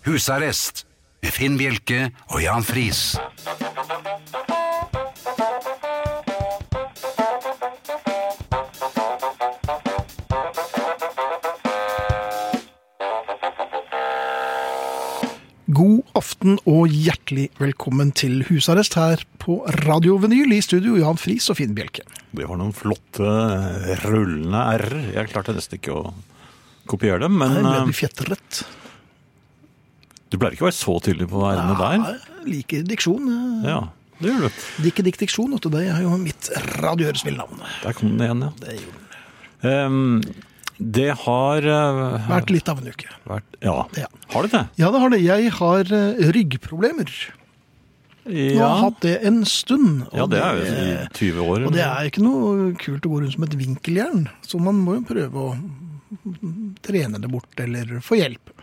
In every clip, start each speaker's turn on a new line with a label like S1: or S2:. S1: Husarrest med Finn Bjelke og Jan Friis.
S2: God aften og hjertelig velkommen til husarrest her på Radio Vinyl i studio, Jan Friis og Finn Bjelke.
S3: Det var noen flotte eh, rullende r-er. Jeg klarte nesten ikke å kopiere dem, men
S2: Her ble
S3: eh,
S2: vi fjetret.
S3: du pleier ikke å være så tydelig på r-ene der.
S2: Jeg liker diksjon. eh,
S3: Ja, det gjør du.
S2: Dikke Dikk Diksjon, vet du, det er jo mitt radiohørespillnavn.
S3: Der kom den igjen, ja. Det, det har eh,
S2: Vært litt av en uke.
S3: vært Ja.
S2: Ja.
S3: Har det det?
S2: Ja, det har det. Jeg har eh, ryggproblemer. Nå har jeg hatt det en stund. og
S3: ja, det er jo i 20 år.
S2: Og det er jo ikke noe kult å gå rundt som et vinkeljern, så man må jo prøve å trene det bort eller få hjelp.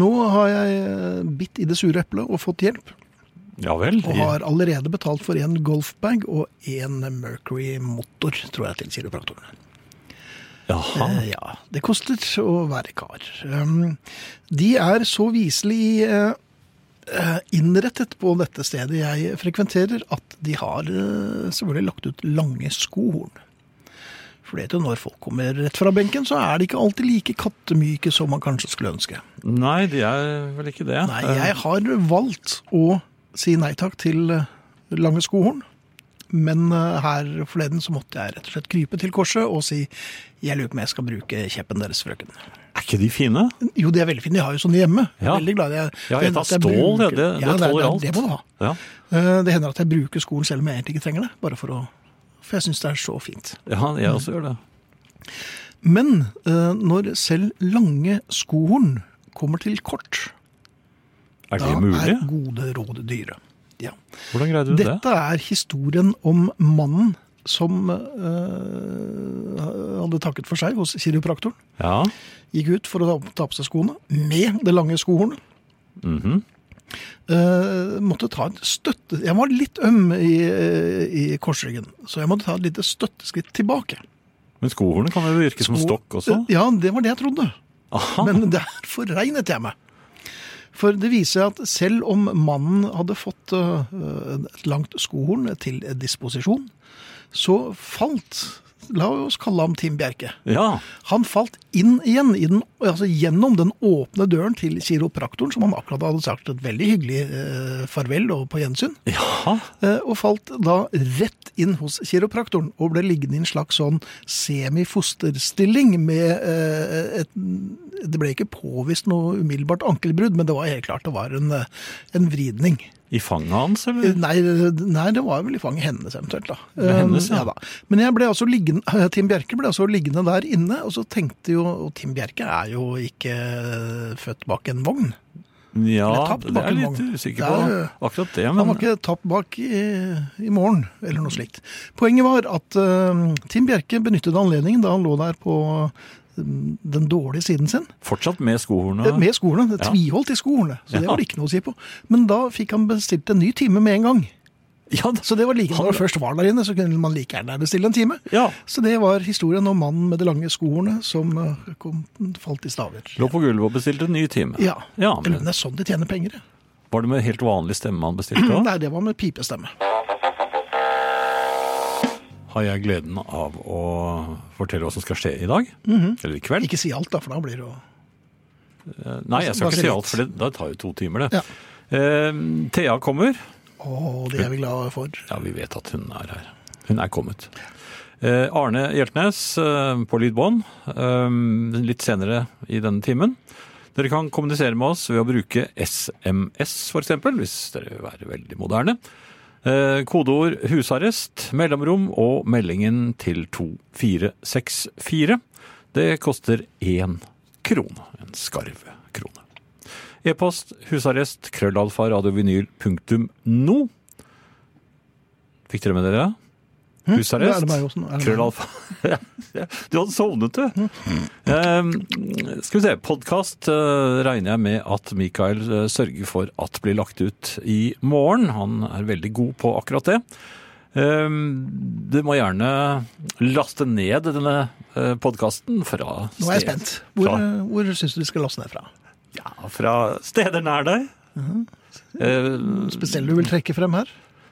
S2: Nå har jeg eh, bitt i det sure eplet og fått hjelp,
S3: Ja vel.
S2: og har allerede betalt for en golfbag og en Mercury-motor, tror jeg, til kiropraktoren.
S3: Jaha.
S2: Eh, Ja, det koster å være kar. Um, De er så viselig eh, eh, innrettet på dette stedet jeg frekventerer, at de har eh, selvfølgelig lagt ut lange skohorn. For det vet du, når folk kommer rett fra benken, så er de ikke alltid like kattemyke som man kanskje skulle ønske.
S3: Nei, de er vel ikke det. Eh,
S2: Nei, jeg har valgt å si nei takk til eh, lange skohorn. Men eh, her forleden så måtte jeg rett og slett krype til korset og si jeg lurer på om jeg skal bruke kjeppen deres, frøken.
S3: Er ikke de fine?
S2: Jo, de er veldig fine. De har jo sånne hjemme.
S3: Ja.
S2: Veldig glad i jeg,
S3: Ja, et av
S2: at jeg
S3: stål, ja,
S2: bruker-
S3: det, det
S2: Ja,
S3: tåler
S2: det,
S3: alt.
S2: Det må du ha.
S3: Ja.
S2: Eh, Det hender at jeg bruker skolen selv om jeg egentlig ikke trenger det. Bare for å For jeg syns det er så fint.
S3: ja, jeg også gjør det.
S2: Men eh, når selv lange skohorn kommer til kort,
S3: Er
S2: da
S3: det mulig?
S2: er gode råd dyre. Ja.
S3: Hvordan greide du det?
S2: Dette er historien om mannen som eh, hadde takket for seg hos kiropraktoren.
S3: Ja.
S2: Gikk ut for å ta ta på seg skoene med det lange skohornet. Eh, måtte ta et støtte... Jeg var litt øm i, eh, i korsryggen, så jeg måtte ta et lite støtteskritt tilbake.
S3: Men skohornet kan jo virke som
S2: Sko-
S3: stokk også?
S2: Eh, Ja, det var det jeg trodde.
S3: Aha.
S2: Men der forregnet jeg meg. For det viser seg at selv om mannen hadde fått eh, et langt skohorn til disposisjon, så falt La oss kalle ham Tim Bjerke.
S3: Ja.
S2: Han falt inn igjen, i den, altså gjennom den åpne døren til kiropraktoren, som han akkurat hadde sagt et veldig hyggelig eh, farvel og på gjensyn,
S3: ja.
S2: eh, og falt da rett inn hos kiropraktoren og ble liggende i en slags sånn semifosterstilling med eh, et, Det ble ikke påvist noe umiddelbart ankelbrudd, men det var helt klart det var en, eh, en vridning.
S3: I fanget hans, eller?
S2: Nei, nei, det var vel i fanget hennes eventuelt, da. Eh,
S3: var hennes, ja.
S2: da. Men jeg ble altså liggende, Tim Bjerke ble altså liggende der inne, og så tenkte jo Og Tim Bjerke er jo ikke eh, født bak en vogn. Eller
S3: Ja,
S2: tapt
S3: det
S2: bak
S3: er
S2: en
S3: jeg litt
S2: vogn.
S3: usikker
S2: Det
S3: på.
S2: er-
S3: Akkurat det,
S2: Han
S3: men
S2: var ikke tapt bak i, i morgen, eller noe slikt. Poenget var at eh, Tim Bjerke benyttet anledningen da han lå der på eh, den dårlige siden sin,
S3: fortsatt med skohornet.
S2: eh, med skolene.
S3: Ja.
S2: Tviholdt i skolene, så det
S3: Ja.
S2: var det ikke noe å si på. Men da fikk han bestilt en ny time med en gang.
S3: Ja, da-
S2: Så det var like,
S3: Han-
S2: når man først var der inne, så kunne man like gjerne bestille en time.
S3: ja.
S2: Så det var historien om mannen med de lange skoene som eh, kom, falt i staver.
S3: Lå på gulvet og bestilte en ny time.
S2: Ja. Eller
S3: men
S2: det er sånn de tjener penger. jeg.
S3: Var det med helt vanlig stemme han bestilte òg?
S2: Mm, Nei, det var med pipestemme.
S3: Har jeg gleden av å fortelle hva som skal skje i dag?
S2: Mhm.
S3: Eller i kveld?
S2: Ikke si alt, da, for da blir det jo
S3: Nei, jeg skal
S2: Bare
S3: ikke si
S2: litt.
S3: alt, for det, det tar jo to timer, det.
S2: Ja.
S3: Eh, Thea kommer.
S2: Å, det er vi glade for.
S3: Ja, vi vet at hun er her. Hun er kommet. Eh, Arne Hjeltnes eh, på lydbånd eh, litt senere i denne timen. Dere kan kommunisere med oss ved å bruke SMS, f.eks., hvis dere vil være veldig moderne. Eh, kodeord 'husarrest', mellomrom og meldingen til 2464. Det koster én krone. En skarve krone. E-post husarrest krøllalfa radiovinyl punktum no. Fikk dere med dere det?
S2: Hm? Det er
S3: Husarrest
S2: det meg også nå. Er det meg?
S3: krøllalfa Du hadde sovnet, du. Eh, skal vi se. Podkast eh, regner jeg med at Mikael eh, sørger for at blir lagt ut i morgen. Han er veldig god på akkurat det. Eh, du må gjerne laste ned denne eh, podkasten fra
S2: Nå er jeg
S3: sted-
S2: spent. Hvor,
S3: Fra,
S2: eh, hvor syns du de skal laste ned fra?
S3: ja, fra steder nær deg.
S2: Mhm.
S3: Eh,
S2: Spesielt du vil trekke frem her?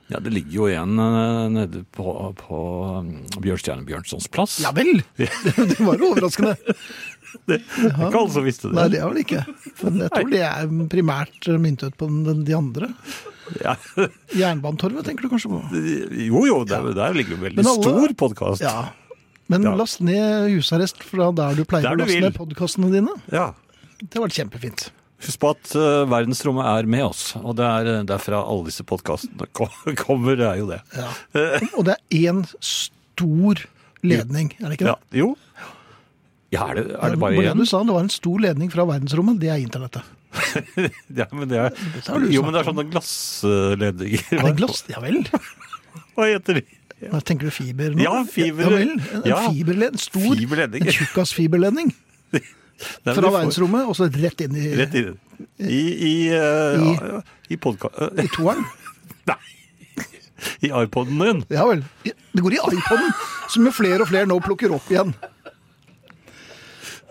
S3: ja, det ligger jo igjen eh, nede på, på eh, Bjørnstjerne Bjørnsons plass.
S2: Ja vel! Det var jo overraskende.
S3: Det er Ikke alle som visste
S2: Nei,
S3: det.
S2: det er vel ikke. Men jeg tror det er primært myntet på den- den, de andre.
S3: Ja.
S2: Jernbanetorvet tenker du kanskje på?
S3: Jo jo, der, der ligger jo en veldig
S2: Men alle-
S3: stor podkast.
S2: Ja. Men
S3: Ja.
S2: last ned husarrest fra der du pleier
S3: Der du
S2: å laste
S3: vil.
S2: ned podkastene dine.
S3: Ja.
S2: Det har vært kjempefint.
S3: Husk på at eh, verdensrommet er med oss, og det er eh, derfra alle disse podkastene ko- kommer. Det er jo det.
S2: Ja.
S3: Eh.
S2: Og det er én stor ledning, er det ikke
S3: Ja,
S2: det?
S3: jo. Ja, er det, er det
S2: var
S3: bare
S2: du
S3: én?
S2: sa, det var en stor ledning fra verdensrommet. Det er internettet.
S3: Ja, men det er,
S2: har du
S3: jo, men
S2: snakket
S3: det er sånne glassledninger.
S2: Er det glass? Ja vel.
S3: Hva heter de?
S2: Nå tenker du fiber nå?
S3: Ja, fiber.
S2: Ja, vel. En
S3: Ja.
S2: fiberled, en stor,
S3: Fiberledning.
S2: en tjukkasfiberledning
S3: Nei, men
S2: fra
S3: du får-
S2: verdensrommet, og så rett inn i,
S3: Rett i det. I, i, eh,
S2: I-
S3: ja, i podka...
S2: i toeren.
S3: Nei. I iPoden din.
S2: Ja vel. I- Det går i iPoden, som jo flere og flere nå plukker opp igjen.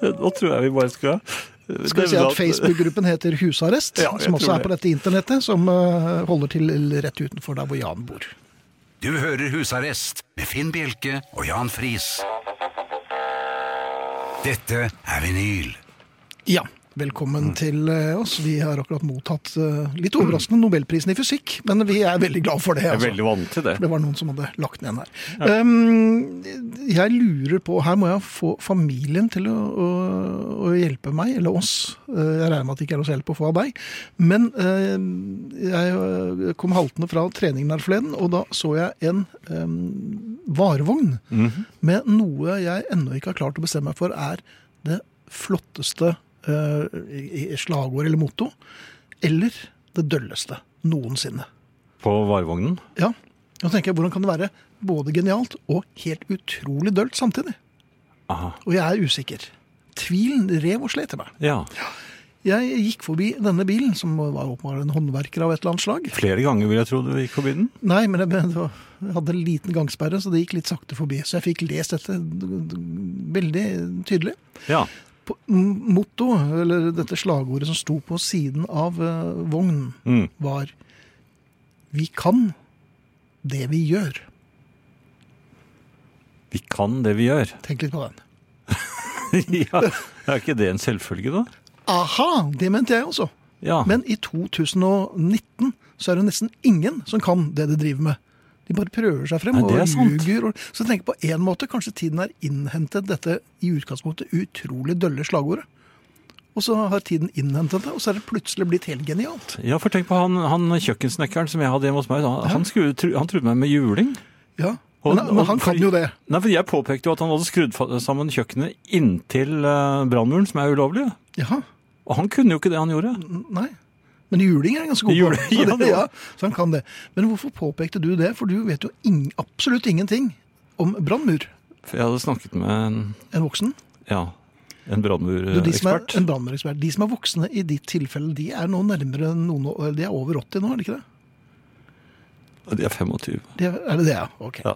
S3: Nå tror jeg vi bare skal eh,
S2: Skal vi si at Facebook-gruppen heter Husarrest,
S3: Ja, jeg
S2: som også
S3: tror
S2: er på
S3: det.
S2: dette internettet, som eh, holder til rett utenfor der hvor Jan bor.
S1: Du hører Husarrest med Finn Bjelke og Jan Friis. Dette er vinyl.
S2: Ja,
S3: Mm.
S2: velkommen til eh, oss. Vi har akkurat mottatt eh, litt overraskende Nobelprisen i fysikk, men vi er veldig glad for det.
S3: Jeg er
S2: altså.
S3: veldig vant til det.
S2: For det var noen som hadde lagt den igjen her. Um, jeg lurer på Her må jeg få familien til å, å, å hjelpe meg, eller oss. Uh, Jeg regner med at det ikke er oss hjelp å få av deg. Men uh, jeg uh, kom haltende fra treningen her forleden, og da så jeg en um, varevogn med noe jeg ennå ikke har klart å bestemme meg for er det flotteste uh, i- i slagord eller motto, eller det dølleste noensinne.
S3: På varevognen.
S2: Ja. Nå tenker jeg, Hvordan kan det være både genialt og helt utrolig dølt samtidig?
S3: Aha.
S2: Og jeg er usikker. Tvilen rev og slet i meg.
S3: Ja.
S2: Jeg gikk forbi denne bilen, som var åpenbart en håndverker av et eller annet slag.
S3: Flere ganger vil jeg tro du gikk forbi den.
S2: Nei, men jeg, det var- jeg hadde en liten gangsperre, så det gikk litt sakte forbi. Så jeg fikk lest dette veldig tydelig.
S3: Ja.
S2: På, m- motto, eller dette slagordet som sto på siden av eh, vognen,
S3: Mm.
S2: var Vi kan det vi gjør.
S3: Vi kan det vi gjør.
S2: Tenk litt på den.
S3: ja. Er ikke det en selvfølge, da?
S2: Aha! Det mente jeg også.
S3: Ja.
S2: Men i 2019 så er det nesten ingen som kan det de driver med. De bare prøver seg frem
S3: Nei, det er
S2: og
S3: sant.
S2: ljuger. Og... Så tenk på en måte, kanskje tiden har innhentet dette i utgangspunktet utrolig dølle slagordet. Og så har tiden innhentet det, og så er det plutselig blitt helt genialt.
S3: ja, for tenk på han, han kjøkkensnekkeren som jeg hadde hjemme hos meg. Han, han, skulle, tru- han truet meg med juling.
S2: Ja,
S3: Og-
S2: Men, men
S3: og-
S2: han kan
S3: fordi-
S2: jo det.
S3: Nei, for Jeg påpekte jo at han hadde skrudd fa- sammen kjøkkenet inntil eh, brannmuren, som er ulovlig.
S2: Jaha,
S3: Og han kunne jo ikke det han gjorde.
S2: n- nei. Men juling er ganske god på.
S3: Juling, ja,
S2: så,
S3: det
S2: det,
S3: var-
S2: ja, så han kan det. Men hvorfor påpekte du det? For du vet jo ing- absolutt ingenting om brannmur.
S3: For jeg hadde snakket med en,
S2: En voksen.
S3: ja, en
S2: Du, de som er,
S3: brannmurekspert.
S2: en brannmannekspert. De som er voksne i ditt tilfelle, de er nå nærmere noen år- De er over 80 nå, er det ikke det?
S3: De er 25.
S2: De er, er det det, ja? Ok.
S3: Ja.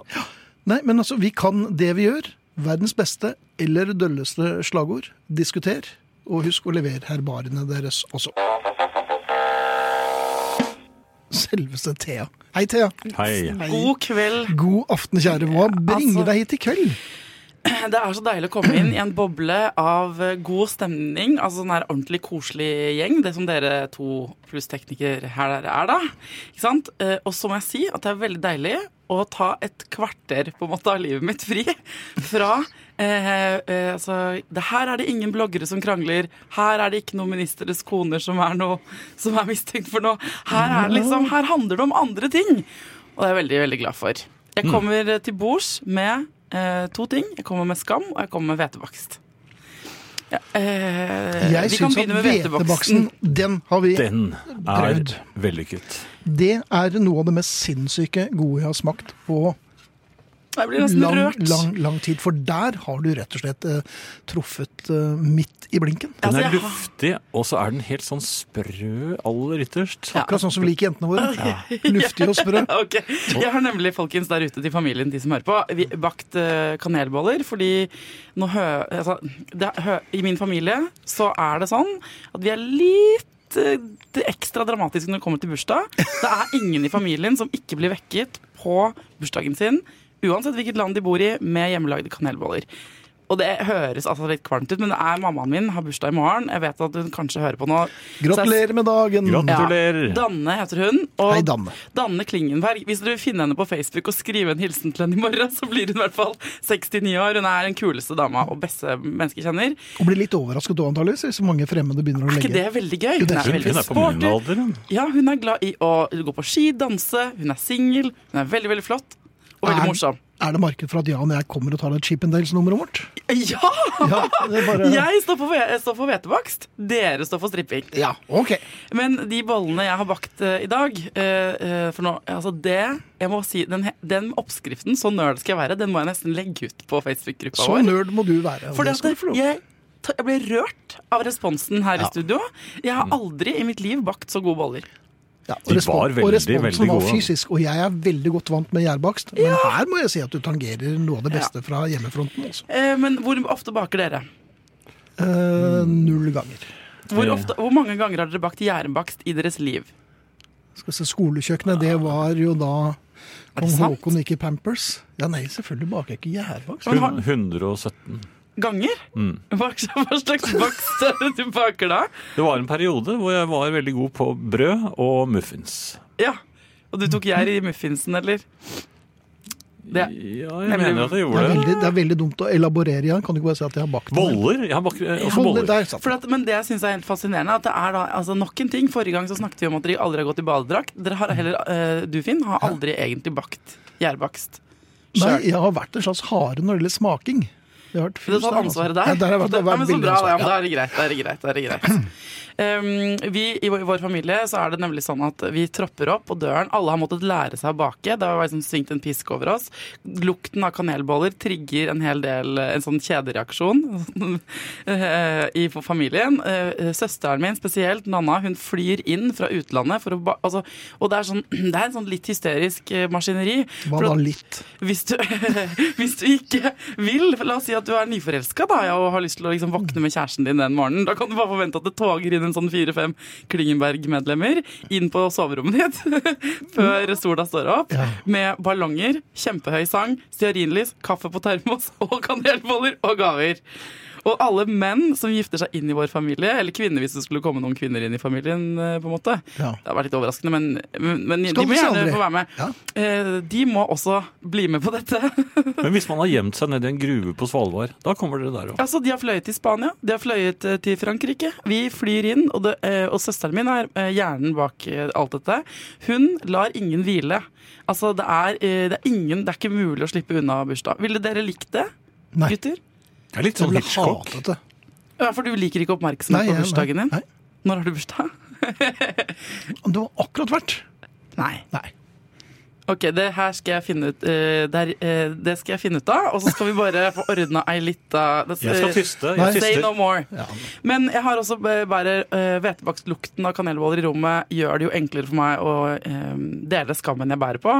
S2: Nei, men altså, vi kan det vi gjør. Verdens beste eller dølleste slagord. Diskuter. Og husk å levere herbarene deres også. Selveste Thea. Hei, Thea.
S3: Hei.
S4: God kveld.
S2: God aften, kjære. Hva bringer
S4: altså-
S2: deg hit i kveld?
S4: Det er så deilig å komme inn i en boble av eh, god stemning. Altså sånn her ordentlig koselig gjeng, det som dere to pluss tekniker her dere er, da. Ikke sant? Eh, Og så må jeg si at det er veldig deilig å ta et kvarter på en måte av livet mitt fri fra eh, eh, altså, det Her er det ingen bloggere som krangler. Her er det ikke noen ministeres koner som er, noe, som er mistenkt for noe. Her, er det liksom, her handler det om andre ting. Og det er jeg veldig, veldig glad for. Jeg
S2: Mm.
S4: kommer eh, til bords med eh, to ting. Jeg kommer med skam, og jeg kommer med hvetebakst. Ja, eh,
S2: Jeg
S4: vi kan
S2: syns at
S4: begynne med
S2: hvetebaksten,
S4: hvetebaksten.
S2: den har vi.
S3: Den er
S2: Prøvd.
S3: vellykket.
S2: Det er noe av det mest sinnssyke gode jeg har smakt på
S4: Jeg blir nesten
S2: lang,
S4: rørt.
S2: lang, lang tid. For der har du rett og slett eh, truffet eh, midt i blinken.
S3: Den
S4: Altså,
S3: er
S4: jeg har-
S3: luftig, og så er den helt sånn sprø aller ytterst.
S4: Ja.
S2: Akkurat sånn som vi liker jentene våre. Luftig og sprø.
S4: Ok, Jeg har nemlig folkens der ute til familien, de som hører på, vi bakt eh, kanelboller. Fordi nå hø, altså, det, er- hø, i min familie så er det sånn at vi er litt eh, det er ekstra dramatisk når det kommer til bursdag. Det er ingen i familien som ikke blir vekket på bursdagen sin, uansett hvilket land de bor i, med hjemmelagde kanelboller. Og det høres altså litt kvalmt ut, men det er mammaen min har bursdag i morgen. Jeg vet at hun kanskje hører på nå. Så jeg-
S2: Gratulerer med dagen!
S3: Gratulerer!
S4: Danne heter hun. Og
S2: Hei, Danne.
S4: Danne Klingenberg. Hvis dere finner henne på Facebook og skriver en hilsen til henne i morgen, så blir hun i hvert fall 69 år. Hun er den kuleste dama og beste menneske jeg kjenner.
S2: Og blir litt overrasket òg, antakeligvis, hvis så mange fremmede begynner å
S4: Er ikke
S2: legge
S4: det veldig gøy?
S2: Jo, det
S4: Hun
S2: er
S4: er
S3: Hun,
S4: veldig
S3: hun er på min
S4: sporty.
S3: alder, hun.
S4: Ja, hun er glad i å gå på ski, danse. Hun er singel. Hun er veldig, veldig flott. Og veldig
S2: Er-
S4: morsom.
S2: Er det marked for at Jan og jeg kommer og tar et Chippendales-nummeret vårt?
S4: Ja!
S2: Ja, det er bare...
S4: Jeg står for ve- jeg står for hvetebakst. Dere står for stripping.
S2: ja, ok.
S4: Men de bollene jeg har bakt eh, i dag eh, eh, For nå, altså det Jeg må si, den, he- den oppskriften, så nerd skal jeg være, den må jeg nesten legge ut på Facebook-gruppa
S2: Så
S4: vår.
S2: nerd må du være. og
S4: Fordi
S2: det
S4: at
S2: skal du få lov til.
S4: jeg, ta- jeg ble rørt av responsen her i studio. Jeg
S2: Mm.
S4: har aldri i mitt liv bakt så gode boller.
S2: Ja, og
S3: De
S2: respon-
S3: var veldig,
S2: og responsen
S3: veldig
S2: var
S3: gode.
S2: fysisk, og jeg er veldig godt vant med gjærbakst, men her må jeg si at du tangerer noe av det beste fra hjemmefronten altså. også.
S4: Eh, men hvor ofte baker dere?
S2: Eh,
S3: Mm.
S2: null ganger.
S4: Hvor,
S3: Eh.
S4: ofte, hvor mange ganger har dere bakt gjærbakst i deres liv?
S2: Skal vi se, Skolekjøkkenet, det var jo da
S4: det
S2: kong
S4: sant?
S2: Haakon gikk i Pampers. Ja, nei, selvfølgelig baker jeg ikke gjærbakst.
S4: Men har,
S3: Hun- 117.
S4: ganger?
S2: Mm.
S4: Hva, hva slags bakst er det du baker da?
S3: Det var en periode hvor jeg var veldig god på brød og muffins.
S4: Ja. Og du tok gjær i muffinsen, eller?
S3: Ja,
S4: Det,
S3: jeg
S4: Nemlig-
S3: mener at jeg
S2: Det er,
S3: gjorde det.
S2: veldig, det er veldig dumt å elaborere igjen. Kan du ikke bare si at jeg har bakt den?
S3: Boller? Jeg har bakt eh, også
S2: Boller,
S3: boller.
S2: der satt
S4: For at, men det jeg synes er helt fascinerende, at det er da altså nok en ting. Forrige gang så snakket vi om at dere aldri har gått i badedrakt. Dere har heller, eh, du Finn, har aldri egentlig bakt gjærbakst.
S2: Nei,
S4: Sjøl.
S2: jeg har vært en slags hare når det gjelder smaking. Jeg har vært
S4: Du
S2: fyrst
S4: tar
S2: der, altså.
S4: ansvaret der.
S2: Ja, der har jeg vært, det
S4: Ja,
S2: var
S4: men så
S2: veldig
S4: bra, ja, men
S2: ansvar. Mm.
S4: da er det greit. Da er det greit, da er det greit. Um, vi, I vår vår familie så er det nemlig sånn at vi tropper opp på døren. Alle har måttet lære seg å bake. Det har vært sånn svingt en pisk over oss. Lukten av kanelboller trigger en hel del eh, en sånn kjedereaksjon eh, i for familien. Eh, Søsteren min spesielt, Nanna, hun flyr inn fra utlandet for å ba... Altså, og det er, sånn, det er en sånn litt hysterisk eh, maskineri.
S2: Hva
S4: For
S2: da
S4: at-
S2: litt?
S4: hvis du, hvis du ikke vil La oss si at du er nyforelska da, ja, og har lyst til å liksom våkne med kjæresten din den morgenen. Da kan du bare forvente at det toger inn en sånn fire-fem Klingenberg-medlemmer inn på soverommet ditt før sola står opp,
S2: Ja.
S4: med ballonger, kjempehøy sang, stearinlys, kaffe på termos og kanelboller og gaver. Og alle menn som gifter seg inn i vår familie, eller kvinner hvis det skulle komme noen kvinner inn i familien, eh, på en måte.
S2: Ja.
S4: Det har vært litt overraskende, men, men, men de
S2: Skal
S4: må
S2: vi se,
S4: gjerne
S2: André?
S4: få være med.
S2: Ja.
S4: Eh, De må også bli med på dette.
S3: Men hvis man har gjemt seg ned i en gruve på Svalbard, da kommer dere der òg.
S4: altså, De har fløyet til Spania, de har fløyet eh, til Frankrike. Vi flyr inn, og, det, eh, og søsteren min er eh, hjernen bak eh, alt dette. Hun lar ingen hvile. Altså, det er, eh, det er ingen Det er ikke mulig å slippe unna bursdag. Ville dere likt det,
S2: Nei,
S4: gutter?
S3: Det er litt
S2: jeg
S3: sånn
S2: ville
S3: Hitchcock.
S2: hatet det.
S4: Ja, for du liker ikke oppmerksomhet
S2: Nei,
S4: på
S2: jeg-
S4: bursdagen din?
S2: nei.
S4: Når har du bursdag?
S2: Det var akkurat verdt.
S4: Nei.
S2: Nei.
S4: Ok, det her skal jeg finne ut eh, der, eh, Det skal jeg finne ut av, og så skal vi bare få ordna ei lita eh,
S3: Jeg skal tyste.
S2: Nei.
S3: Jeg
S4: Say no
S3: tyster.
S4: more.
S2: Ja.
S4: Men jeg har også eh, bare eh, hvetebakstlukten av kanelboller i rommet gjør det jo enklere for meg å eh, dele skammen jeg bærer på.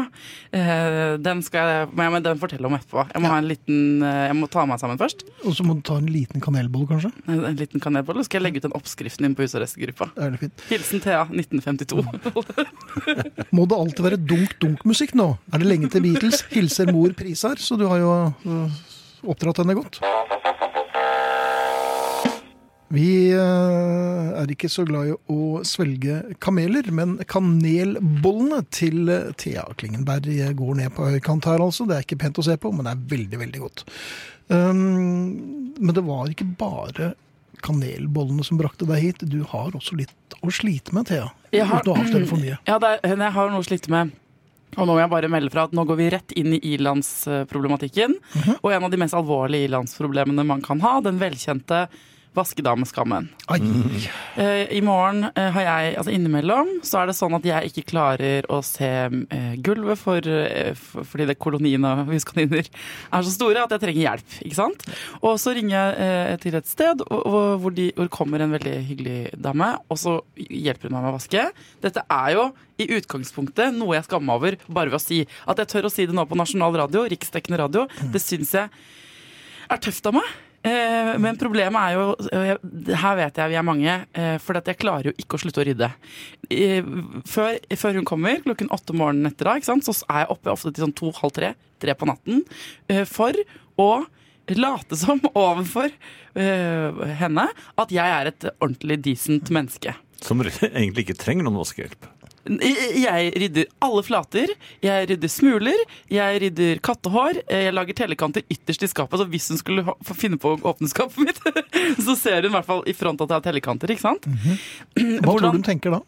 S4: Eh, den skal jeg, men jeg- men den forteller om etterpå. Jeg må, ha en liten, eh, jeg må ta meg sammen først.
S2: Og så må du ta en liten kanelboll, kanskje.
S4: En, en liten kanelbolle, så skal jeg legge ut den oppskriften din på hus- og restegruppa.
S2: Det er det fint.
S4: Hilsen Thea, 1952.
S2: Må det alltid være dunk-dunk-musikk nå? Er det lenge til Beatles? Hilser mor Prisar, så du har jo øh, oppdratt henne godt. Vi øh, er ikke så glad i å svelge kameler, men kanelbollene til øh, Thea Klingenberg eh, går ned på høykant her, altså. Det er ikke pent å se på, men det er veldig, veldig godt. Um, men det var ikke bare kanelbollene som brakte deg hit. Du har også litt å slite med, Thea.
S4: Jeg har-
S2: Uten å avsløre for mye.
S4: Ja, det er, jeg har noe å slite med. Og nå må jeg bare melde fra at nå går vi rett inn i ilandsproblematikken. Og en av de mest alvorlige ilandsproblemene man kan ha, den velkjente vaskedameskammen.
S2: Ai.
S4: Eh, I morgen eh, har jeg, altså innimellom, så er det sånn at jeg ikke klarer å se eh, gulvet for, eh, f- fordi det kolonien av huskaniner er så store at jeg trenger hjelp, ikke sant? Og så ringer jeg eh, til et sted og, og, hvor, de, hvor det kommer en veldig hyggelig dame, og så hjelper hun meg med å vaske. Dette er jo i utgangspunktet noe jeg skammer meg over bare ved å si. At jeg tør å si det nå på nasjonal radio, riksdekkende radio, det syns jeg er tøft av meg. Eh, men problemet er jo og jeg- Her vet jeg vi er mange, eh, for at jeg klarer jo ikke å slutte å rydde. Eh, før, før hun kommer, klokken åtte morgenen etter, da, ikke sant, så er jeg oppe ofte til sånn to, halv tre, tre på natten, eh, for å late som overfor eh, henne at jeg er et ordentlig decent menneske.
S3: Som egentlig ikke trenger noen vaskehjelp.
S4: Jeg rydder alle flater, jeg rydder smuler, jeg rydder kattehår, eh, jeg lager tellekanter ytterst i skapet, så hvis hun skulle ha- få finne på å åpne skapet mitt, så ser hun i hvert fall i front at jeg har tellekanter, ikke sant?
S2: Hva tror du de tenker da?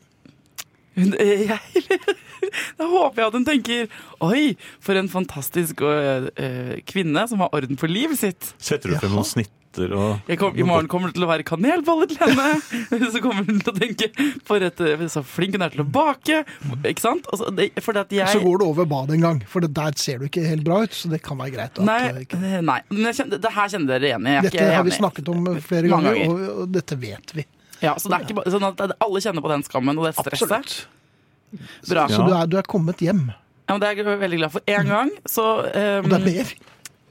S4: Hun, eh, jeg, da håper jeg at hun tenker, oi, for en fantastisk eh, eh, kvinne som har orden på livet sitt.
S3: Setter du frem noen snitter og
S4: Jeg kom, I morgen kommer det til å være kanelboller til henne. Så kommer hun til å tenke for et, eh, så flink hun er til å bake. Ikke sant? Og så- det- fordi at jeg,
S2: Så går det over badet en gang, for det der ser du ikke helt bra ut. Så det kan være greit. At det
S4: Nei,
S2: ikke...
S4: nei, men jeg kjenner, det her kjenner dere igjen i. Jeg er
S2: Dette
S4: ikke
S2: har vi
S4: enig.
S2: snakket om eh, flere
S4: Mange
S2: ganger,
S4: ganger.
S2: og, og dette vet vi.
S4: Ja, så det er ikke bare, sånn at alle kjenner på den skammen og det stresset. Bra.
S2: Så
S3: Ja.
S2: du er, du er kommet hjem.
S4: Ja, men det er jeg veldig glad for. En gang så ehm,
S2: Og det er mer.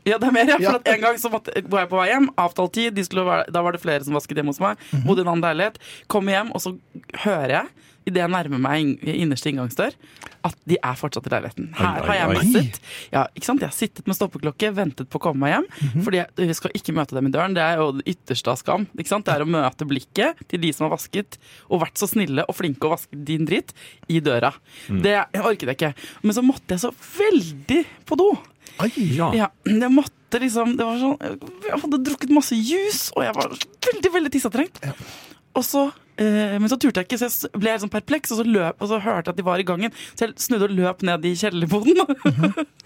S4: Ja, det er mer, ja, for
S2: Ja.
S4: at en gang så måtte, var jeg på vei hjem, avtalt tid, de skulle være, da var det flere som vasket hjemme hos meg, bodde i en annen leilighet, kom hjem, og så hører jeg, i det jeg nærmer meg inn- innerste inngangsdør, at de er fortsatt i leiligheten. Her
S3: Oi,
S4: har jeg
S3: oi, oi.
S4: mistet. Ja, ikke sant? Jeg har sittet med stoppeklokke, ventet på å komme meg hjem, fordi jeg, jeg skal ikke møte dem i døren, det er jo det ytterste av skam, ikke sant? Det er å møte blikket til de som har vasket, og vært så snille og flinke og vasket din dritt, i døra. Det orket jeg ikke. Men så måtte jeg så veldig på do.
S2: Ai,
S3: Ja.
S4: Ja, jeg måtte liksom det var sånn, Jeg hadde drukket masse juice, og jeg var veldig veldig tissetrengt. Og så, eh, men så turte jeg ikke, så jeg s- ble helt sånn perpleks, og så, løp, og så hørte jeg at de var i gangen. Så jeg snudde og løp ned i kjellerboden.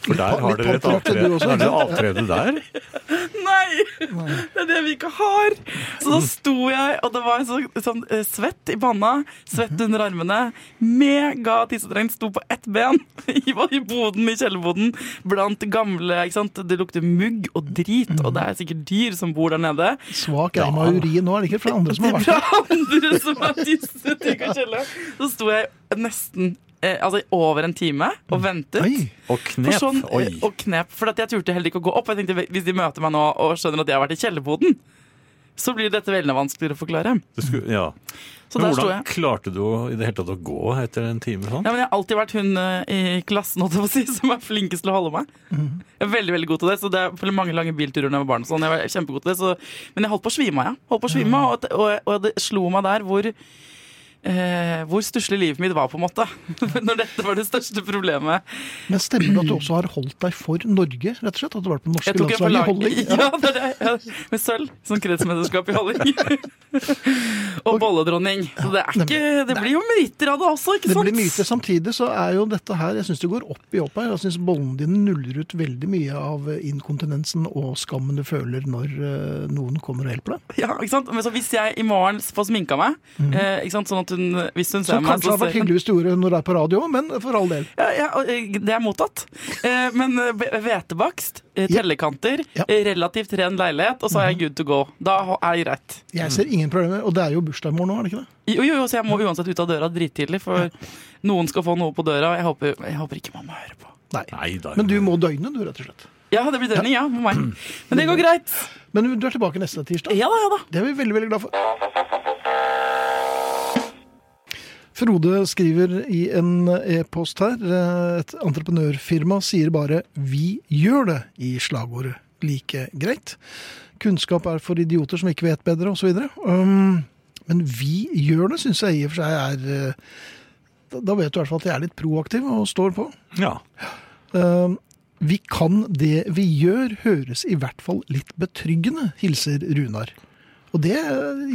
S3: For der har dere et
S2: pamper til du
S3: avtrede,
S2: også,
S3: er det
S2: ikke sant?
S3: avtrede der.
S4: Nei! Det er det vi ikke har! Så da sto jeg, og det var så, sånn eh, svett i panna,
S2: Mhm.
S4: svett under armene, mega tissetrengt, sto på ett ben i, i boden, i kjellerboden, blant gamle ikke sant? Det lukter mugg og drit, og det er
S2: Mhm.
S4: sikkert dyr som bor der nede.
S2: svak eim av urin nå, er det ikke? For det er andre som har vært der.
S4: Fra andre som har tisset i Coachella. Så sto jeg nesten eh, altså, i over en time og ventet.
S2: Ai,
S3: Og
S4: For
S3: knep.
S4: sånn,
S3: Oi.
S4: eh, og knep, for at jeg turte heller ikke å gå opp. Jeg tenkte, Hvis de møter meg nå og skjønner at jeg har vært i kjellerboden, så blir dette veldig vanskeligere å forklare.
S3: Det skulle, ja.
S4: Så
S3: Men
S4: der sto
S3: hvordan
S4: jeg.
S3: klarte du å- i det hele tatt å gå etter en time sånn?
S4: Ja, men jeg har alltid vært hun eh, i klassen holdt jeg på å si, som er flinkest til å holde meg.
S3: Mhm.
S4: Jeg er veldig veldig god til det. så det er for mange lange bilturer når jeg var barn. og Sånn. Jeg var kjempegod til det, så, Men jeg holdt på å svime av. Ja. Holdt på å svime, av,
S3: Mhm.
S4: og, og, og det slo meg der hvor, eh, hvor stusslig livet mitt var, på en måte. når dette var det største problemet.
S2: Men stemmer det at du også har holdt deg for Norge, rett og slett? At du har vært på norske
S4: Jeg tok en for
S2: landslaget i
S4: lag.
S2: holding?
S4: Ja, det er det. Ja, med sølv som kretsmesterskap i holding. og bolledronning. Så det, er ikke, det blir jo myter av det også, ikke
S2: Det
S4: sant?
S2: blir myter. Samtidig så er jo dette her Jeg syns det går opp i opp her. Jeg syns bollen din nuller ut veldig mye av inkontinensen og skammen du føler når eh, noen kommer og hjelper deg.
S4: Ja, ikke sant? Men så hvis jeg i morgen får sminka meg, eh, ikke sant? sånn at hun Hvis hun ser
S2: Som Mhm.
S4: meg,
S2: kanskje
S4: så
S2: har vært
S4: ser hun
S2: hyggelig hvis du gjorde det når du er på radio, men for all del.
S4: ja, ja, og, eh, Det er mottatt. Eh, men eh, be- hvetebakst, eh,
S2: Ja.
S4: tellekanter,
S2: Ja. Mhm.
S4: eh, relativt ren leilighet, og så er jeg good to go. Da ho- er jeg greit.
S2: Jeg ser ingen problemer. Og det er jo bursdag i morgen nå, er det ikke det?
S4: Jo, jo, jo, så jeg må uansett ut av døra drittidlig, for noen skal få noe på døra. og Jeg håper, jeg håper ikke mamma hører på.
S2: Nei.
S3: Nei da.
S2: Men du må døgne, du, rett og slett.
S4: Ja, det blir døgning, ja. Med meg. Men det går greit.
S2: Men du er tilbake neste tirsdag.
S4: Ja da, ja da.
S2: Det er vi veldig, veldig glad for. Frode skriver i en e-post her eh, et entreprenørfirma sier bare 'vi gjør det' i slagordet. Like greit. Kunnskap er for idioter som ikke vet bedre, osv. Um, men 'vi gjør det' syns jeg i og for seg er eh, da- Da vet du i hvert fall at jeg er litt proaktiv og står på.
S3: Ja.
S2: Eh, Vi kan det vi gjør, høres i hvert fall litt betryggende, hilser Runar. Og det,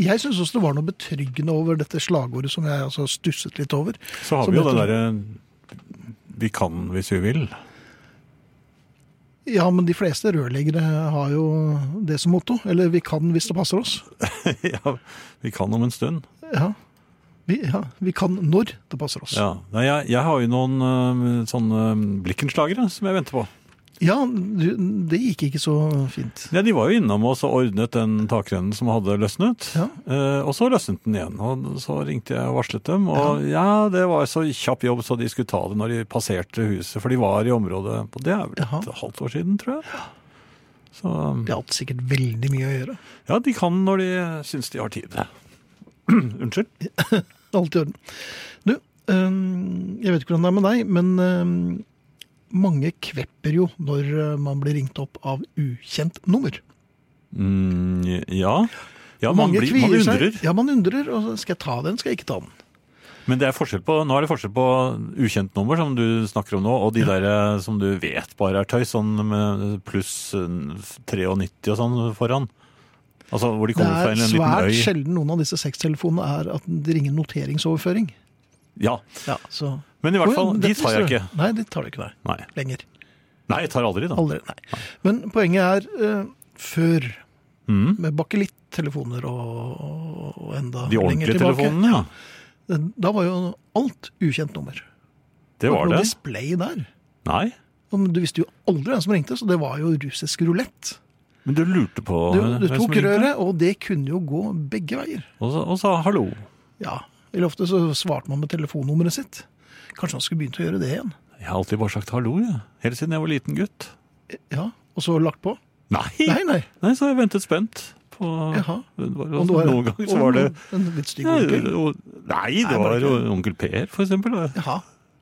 S2: Jeg syns også det var noe betryggende over dette slagordet som jeg altså stusset litt over.
S3: Så har
S2: Som
S3: vi jo
S2: dette-
S3: det derre Vi kan hvis vi vil.
S2: Ja, men de fleste rørleggere har jo det som motto. Eller vi kan hvis det passer oss.
S3: ja, vi kan om en stund.
S2: Ja. Vi, ja, vi kan når det passer oss. Ja,
S3: Ja. Nei, jeg, jeg har jo noen øhm, sånne øhm, blikkenslagere som jeg venter på.
S2: du, det gikk ikke så fint.
S3: Ja, de var jo innom oss og ordnet den takrennen som hadde løsnet.
S2: Ja.
S3: Eh, og så løsnet den igjen. Og så ringte jeg og varslet dem. Og ja, det var så kjapp jobb, så de skulle ta det når de passerte huset. For de var i området på Det er vel et
S2: Jaha.
S3: halvt år siden, tror jeg. Så
S2: De har hatt sikkert veldig mye å gjøre.
S3: ja, de kan når de syns de har tid. Unnskyld.
S2: Alt i orden. Du, øhm, jeg vet ikke hvordan det er med deg, men øhm, mange kvepper jo når øh, man blir ringt opp av ukjent nummer.
S3: Mm, ja. ja man, blir, man
S2: kvier seg.
S3: undrer.
S2: Ja, man undrer. Og så skal jeg ta den, skal jeg ikke ta den?
S3: Men det er forskjell på, nå er det forskjell på ukjent nummer, som du snakker om nå, og de der eh, som du vet bare er tøys, sånn med pluss eh, 93 og sånn foran. Altså hvor de
S2: Det
S3: kommer fra
S2: er
S3: en liten
S2: svært
S3: øy.
S2: sjelden noen av disse sextelefonene er at det ringer noteringsoverføring.
S3: Ja,
S2: Ja, så...
S3: Men i
S2: Å,
S3: hvert
S2: ja,
S3: fall, de
S2: dette
S3: tar jeg
S2: visste
S3: ikke.
S2: du. Nei, de tar du ikke, nei.
S3: Nei,
S2: Lenger.
S3: Nei jeg tar aldri, da.
S2: Aldri, nei. Men poenget er eh, før, med bakelitt-telefoner og, og enda
S3: Mm. De
S2: lenger
S3: ordentlige
S2: tilbake.
S3: telefonene, ja.
S2: Da var jo alt ukjent nummer.
S3: Det var
S2: noe
S3: det.
S2: display der.
S3: Nei.
S2: Og Du visste jo aldri hvem som ringte, så det var jo russisk rulett.
S3: Men du lurte på
S2: Du,
S3: hvem
S2: du
S3: som
S2: tok
S3: ringte.
S2: røret, og det kunne jo gå begge veier.
S3: Og, sa- og sa hallo.
S2: Ja, Eller ofte så svarte man med telefonnummeret sitt. Kanskje man skulle begynt å gjøre det igjen.
S3: Jeg har alltid bare sagt hallo, jeg. Helt siden jeg var liten gutt.
S2: Ja, Og så lagt på.
S3: Nei!
S2: Nei, nei.
S3: Nei, så jeg ventet spent på
S2: Jaha.
S3: Det var-
S2: Og det var-
S3: Noen ganger så var det
S2: En litt stygg
S3: Nei,
S2: onkel.
S3: o- Nei,
S2: Nei,
S3: det
S2: bare
S3: var jo
S2: ikke.
S3: onkel Per, for eksempel. da.
S2: Jaha.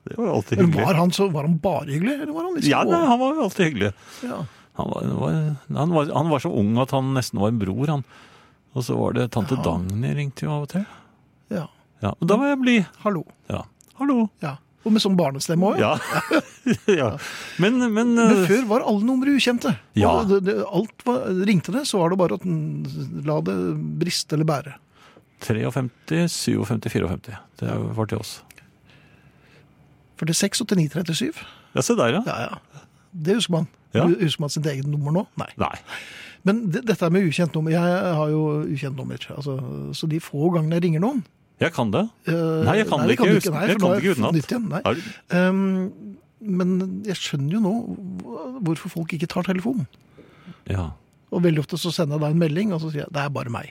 S3: Det var jo alltid
S2: Men
S3: hyggelig.
S2: var han, så, var han bare hyggelig, eller var han litt
S3: Ja,
S2: skå?
S3: nei, han var jo alltid hyggelig.
S2: Ja.
S3: Han var, var, han, var, han var så ung at han nesten var en bror, han. Og så var det tante Dagny ringte jo av og til.
S2: ja.
S3: Ja, og da var jeg blid.
S2: Hallo.
S3: Ja. Hallo.
S2: Ja. Og med sånn barnestemme òg, ja.
S3: Ja. ja. Men, men
S2: Men
S3: eh,
S2: før var alle numre ukjente.
S3: Ja.
S2: Og det, det, alt var, ringte det, så var det bare at den- la det briste eller bære.
S3: 53, 57, 54. Det var til oss.
S2: 46 og 39 37.
S3: Ja, se der, ja.
S2: Ja, ja. Det husker man.
S3: Ja.
S2: Husker man sitt eget nummer nå? Nei.
S3: Nei.
S2: Men det, dette er med ukjent nummer. Jeg har jo ukjent nummer. Altså, så de få gangene jeg ringer noen
S3: Jeg kan det.
S2: eh,
S3: Nei, jeg kan det
S2: det
S3: ikke.
S2: du Nei,
S3: Jeg
S2: for
S3: kan
S2: da
S3: det ikke
S2: er
S3: utenat.
S2: nytt igjen, nei.
S3: Er,
S2: Um, men jeg skjønner jo nå hv- hvorfor folk ikke tar telefonen.
S3: ja.
S2: Og veldig ofte så sender jeg deg en melding, og så sier jeg det er bare meg.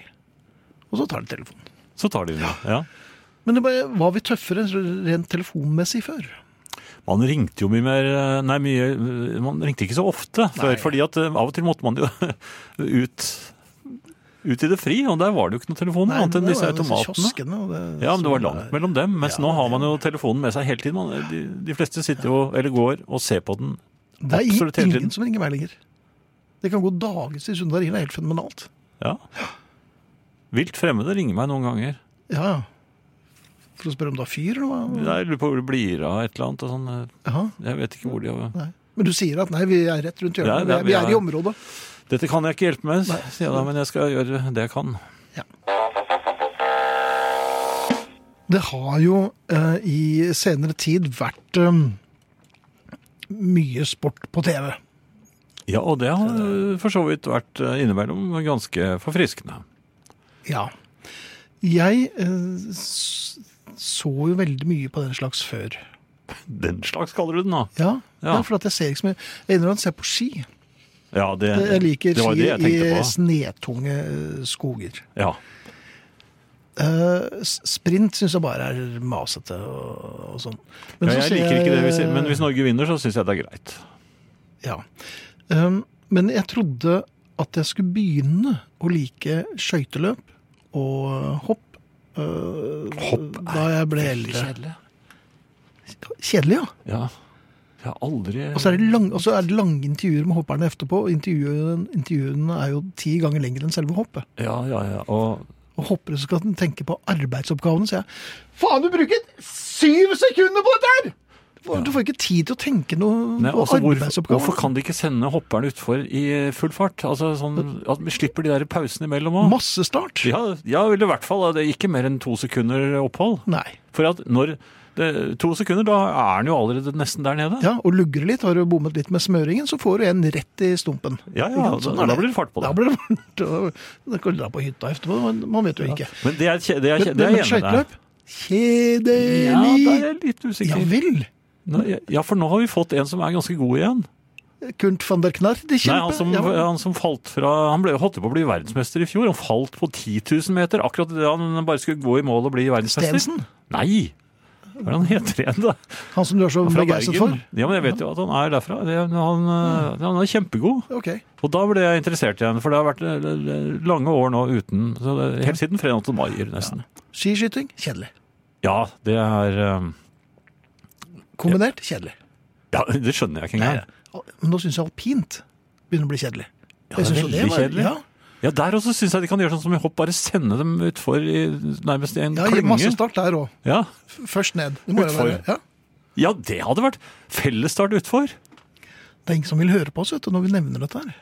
S2: Og så tar de telefonen.
S3: Så tar de det. Ja.
S2: Men det bare, var vi tøffere rent telefonmessig før?
S3: Man ringte jo mye mer eh, Nei, mye, eh, man ringte ikke så ofte før, fordi at eh, av og til måtte man jo ut, ut i det fri, og der var det jo ikke noen telefoner
S2: Nei,
S3: annet enn
S2: det
S3: disse
S2: var jo
S3: automatene.
S2: kioskene, og det,
S3: Ja, men det var
S2: som
S3: langt mellom dem, mens nå har man jo telefonen med seg hele tiden. Man, de, de fleste sitter jo, eller går, og ser på den.
S2: Det er
S3: Absolutt hele
S2: ingen
S3: tiden.
S2: som ringer meg lenger. Det kan gå dagevis uten å ringe. Det er helt fenomenalt.
S3: Ja. Vilt fremmede ringer meg noen ganger.
S2: Ja, ja. For å spørre om du har fyr, eller hva?
S3: Jeg lurer på hvor det blir av et eller annet, og sånn. eh,
S2: Jaha,
S3: Jeg vet ikke hvor de har...
S2: nei. Men du sier at nei, vi er rett rundt hjørnet.
S3: Ja,
S2: vi,
S3: ja,
S2: er,
S3: vi
S2: vi er i
S3: er-
S2: området.
S3: Dette kan jeg ikke hjelpe med, sier jeg da, men jeg skal gjøre det jeg kan.
S2: Det har jo eh, i senere tid vært eh, mye sport på TV.
S3: Ja, og det har eh, for så vidt vært eh, innimellom ganske forfriskende.
S2: Ja. Jeg eh, s- så jo veldig mye på den slags før.
S3: Den slags kaller du den, da?
S2: Ja,
S3: Ja.
S2: Det er fordi at jeg ser ikke så mye. Jeg innrømmer at jeg ser på ski.
S3: Ja, det,
S2: Jeg liker
S3: det var det jeg
S2: ski
S3: tenkte
S2: i
S3: på.
S2: snetunge eh, skoger.
S3: Ja.
S2: Eh, s- sprint syns jeg bare er masete og, og sånn. Men
S3: Ja,
S2: så
S3: jeg
S2: ser
S3: liker ikke det, hvis, men hvis Norge vinner, så syns jeg det er greit.
S2: ja. um, Men jeg trodde at jeg skulle begynne å like skøyteløp og hopp. eh, da jeg ble eldre.
S3: Kjedelig.
S2: Kjedelig, ja.
S3: Ja. Jeg har aldri
S2: Og så er det, lang, og så er det lange intervjuer med hopperne etterpå. og Intervjuene, intervjuene er jo ti ganger lengre enn selve hoppet.
S3: Ja, ja, ja. Og
S2: Og hoppere som skal tenke på arbeidsoppgavene, sier jeg. Faen, du bruker syv sekunder på dette her! Du får ikke tid til å tenke noe
S3: Nei,
S2: på
S3: altså, hvorfor,
S2: arbeidsoppgaver.
S3: hvorfor kan de ikke sende hopperne utfor i full fart? Altså, sånn, at vi slipper de der pausene imellom òg.
S2: Massestart?
S3: Ja, ja, vel, i hvert fall. Det er ikke mer enn to sekunder opphold.
S2: Nei.
S3: For at når det, To sekunder, da er han jo allerede nesten der nede.
S2: Ja, og lugger det litt, har du bommet litt med smøringen, så får du en rett i stumpen.
S3: Ja, ja,
S2: Ikke sant?
S3: da-
S2: er
S3: da blir det fart på det.
S2: Da blir det fart. og Da kan du dra på hytta etterpå, men man vet jo ikke.
S3: Men det er, kje- det er, kje- det er
S2: Men-
S3: jeg enig med deg.
S2: skøyteløp? Kjedelig!
S3: Ja, da er jeg litt
S2: Ja
S3: usikker.
S2: vel!
S3: Nå- Ja, for nå har vi fått en som er ganske god igjen.
S2: Kurt van der Knarr, de
S3: Nei,
S2: kjempe.
S3: han som,
S2: Ja, vel.
S3: han som falt fra Han ble, holdt på å bli verdensmester i fjor. Han falt på 10 000 meter. Akkurat det han bare skulle gå i mål og bli verdensmester.
S2: Stensen?
S3: Nei! Hva er det han heter igjen, da?
S2: Han som Mm. du er så
S3: Fra
S2: begeistret for?
S3: Bergen. Ja, men jeg vet jo at han er derfra. Det, han, eh, han er kjempegod.
S2: Ok.
S3: Og da ble jeg interessert igjen, for det har vært eh, lange år nå uten så det, Helt siden Fred Anton Maier, nesten.
S2: Skiskyting? Kjedelig.
S3: Ja, det er eh,
S2: Kombinert? Kjedelig.
S3: Ja, det skjønner jeg ikke engang.
S2: Al- Men nå syns jeg alpint begynner å bli kjedelig.
S3: Ja,
S2: Jeg
S3: det
S2: synes
S3: er
S2: jo
S3: veldig
S2: var-
S3: kjedelig.
S2: Ja,
S3: Ja, Der også syns jeg de kan gjøre sånn som i hopp, bare sende dem utfor i nærmest i en
S2: ja gi
S3: klynge.
S2: massestart der òg.
S3: Ja.
S2: Først ned. Det må jo
S3: Utfor.
S2: være. Ja.
S3: ja, det hadde vært fellesstart utfor.
S2: Det er ingen som vil høre på oss vet du, når vi nevner dette her.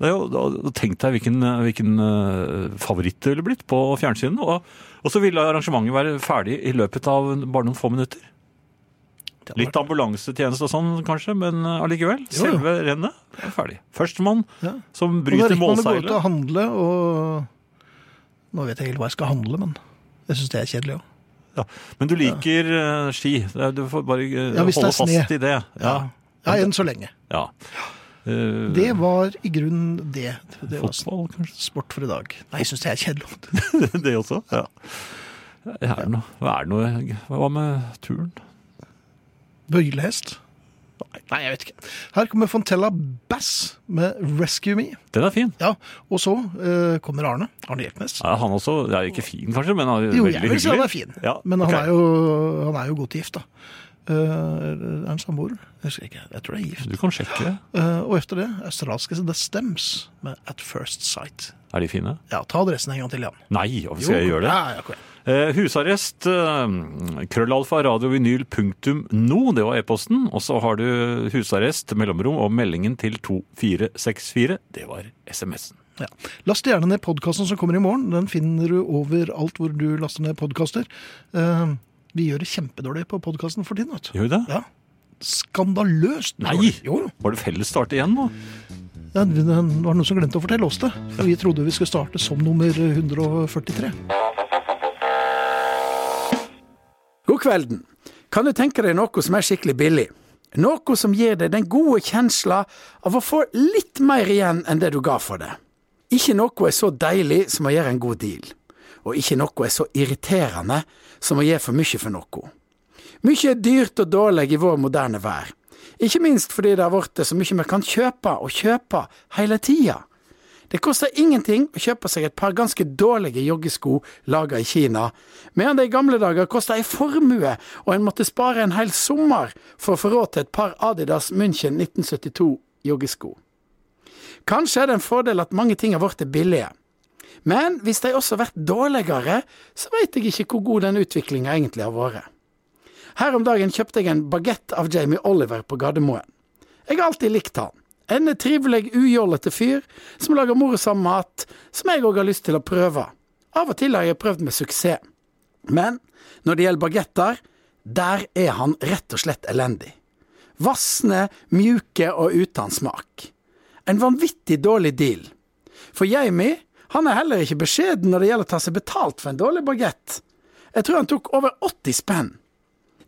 S3: Det er jo, da- da Tenk deg hvilken, hvilken eh, favoritt det ville blitt på fjernsynet. Og, og så ville arrangementet være ferdig i løpet av bare noen få minutter. Litt ambulansetjeneste og sånn kanskje, men eh, allikevel.
S2: Jo, jo.
S3: Selve rennet er ferdig. Førstemann
S2: Ja.
S3: som
S2: Og da
S3: bryter
S2: rekker man å gå ut og
S3: målseilet.
S2: handle, og Nå vet jeg ikke helt hva jeg skal handle, men jeg syns det er kjedelig òg.
S3: Ja. Men du liker eh, ski. Det er- Du får bare eh,
S2: Ja, hvis det er
S3: holde
S2: sne.
S3: fast i det.
S2: Ja.
S3: Ja.
S2: ja, enn så lenge.
S3: ja. Eh,
S2: Det var i grunnen det. Det var
S3: Fotball, kanskje.
S2: sport for i dag. Nei, jeg syns det er kjedelig.
S3: det også. Ja. Er det noe? Hva er det noe? Hva med turen?
S2: Bøylehest? Nei, jeg vet ikke. Her kommer Fontella Bass med 'Rescue Me'.
S3: Den er fin.
S2: Ja, Og så eh, kommer Arne. Arne Hjeltnes.
S3: Ja, han også det er jo ikke fin, kanskje, men han er
S2: Jo,
S3: veldig
S2: jeg vil si han
S3: hyggelig.
S2: er fin,
S3: Ja,
S2: men han
S3: ok.
S2: er jo, han er jo godt gift, da. Eh, er han samboer? Jeg husker ikke. Jeg tror det er gift.
S3: Du kan sjekke det.
S2: Eh, og etter det australske The Stems med At First Sight.
S3: Er de fine?
S2: Ja, ta adressen en gang til, Jan.
S3: Nei, hvorfor skal jeg gjøre det?
S2: Ja, ja, kom igjen.
S3: Eh, husarrest, eh, krøllalfa, radiovinyl, punktum no, det var e-posten. Og så har du husarrest, mellomrom og meldingen til 2464. Det var SMS-en.
S2: Ja. Last gjerne ned podkasten som kommer i morgen. Den finner du overalt hvor du laster ned podkaster. Eh, vi gjør det kjempedårlig på podkasten for tiden. vet du.
S3: Gjør vi det?
S2: Ja. Skandaløst!
S3: Nei!
S2: dårlig. Jo, jo.
S3: Var det fellesstart igjen nå?
S2: Ja, det var noen som glemte å fortelle oss det. For vi trodde vi skulle starte som nummer 143.
S5: God kvelden. Kan du tenke deg noe som er skikkelig billig? Noe som gir deg den gode kjensla av å få litt mer igjen enn det du ga for det. Ikke noe er så deilig som å gjøre en god deal. Og ikke noe er så irriterende som å gjøre for mye for noe. Mye er dyrt og dårlig i vår moderne vær. Ikke minst fordi det har blitt så mye vi kan kjøpe og kjøpe hele tida. Det koster ingenting å kjøpe seg et par ganske dårlige joggesko laga i Kina, medan det i gamle dager kosta ei formue og en måtte spare en hel sommer for å få råd til et par Adidas München 1972-joggesko. Kanskje er det en fordel at mange ting har blitt billige, men hvis de også har vært dårligere, så veit jeg ikke hvor god den utviklinga egentlig har vært. Her om dagen kjøpte jeg en bagett av Jamie Oliver på Gardermoen. Jeg har alltid likt han. En trivelig, ujålete fyr som lager morsom mat, som jeg òg har lyst til å prøve. Av og til har jeg prøvd med suksess. Men når det gjelder bagetter, der er han rett og slett elendig. Vassende, mjuke og uten smak. En vanvittig dårlig deal. For Jamie, han er heller ikke beskjeden når det gjelder å ta seg betalt for en dårlig bagett. Jeg tror han tok over 80 spenn.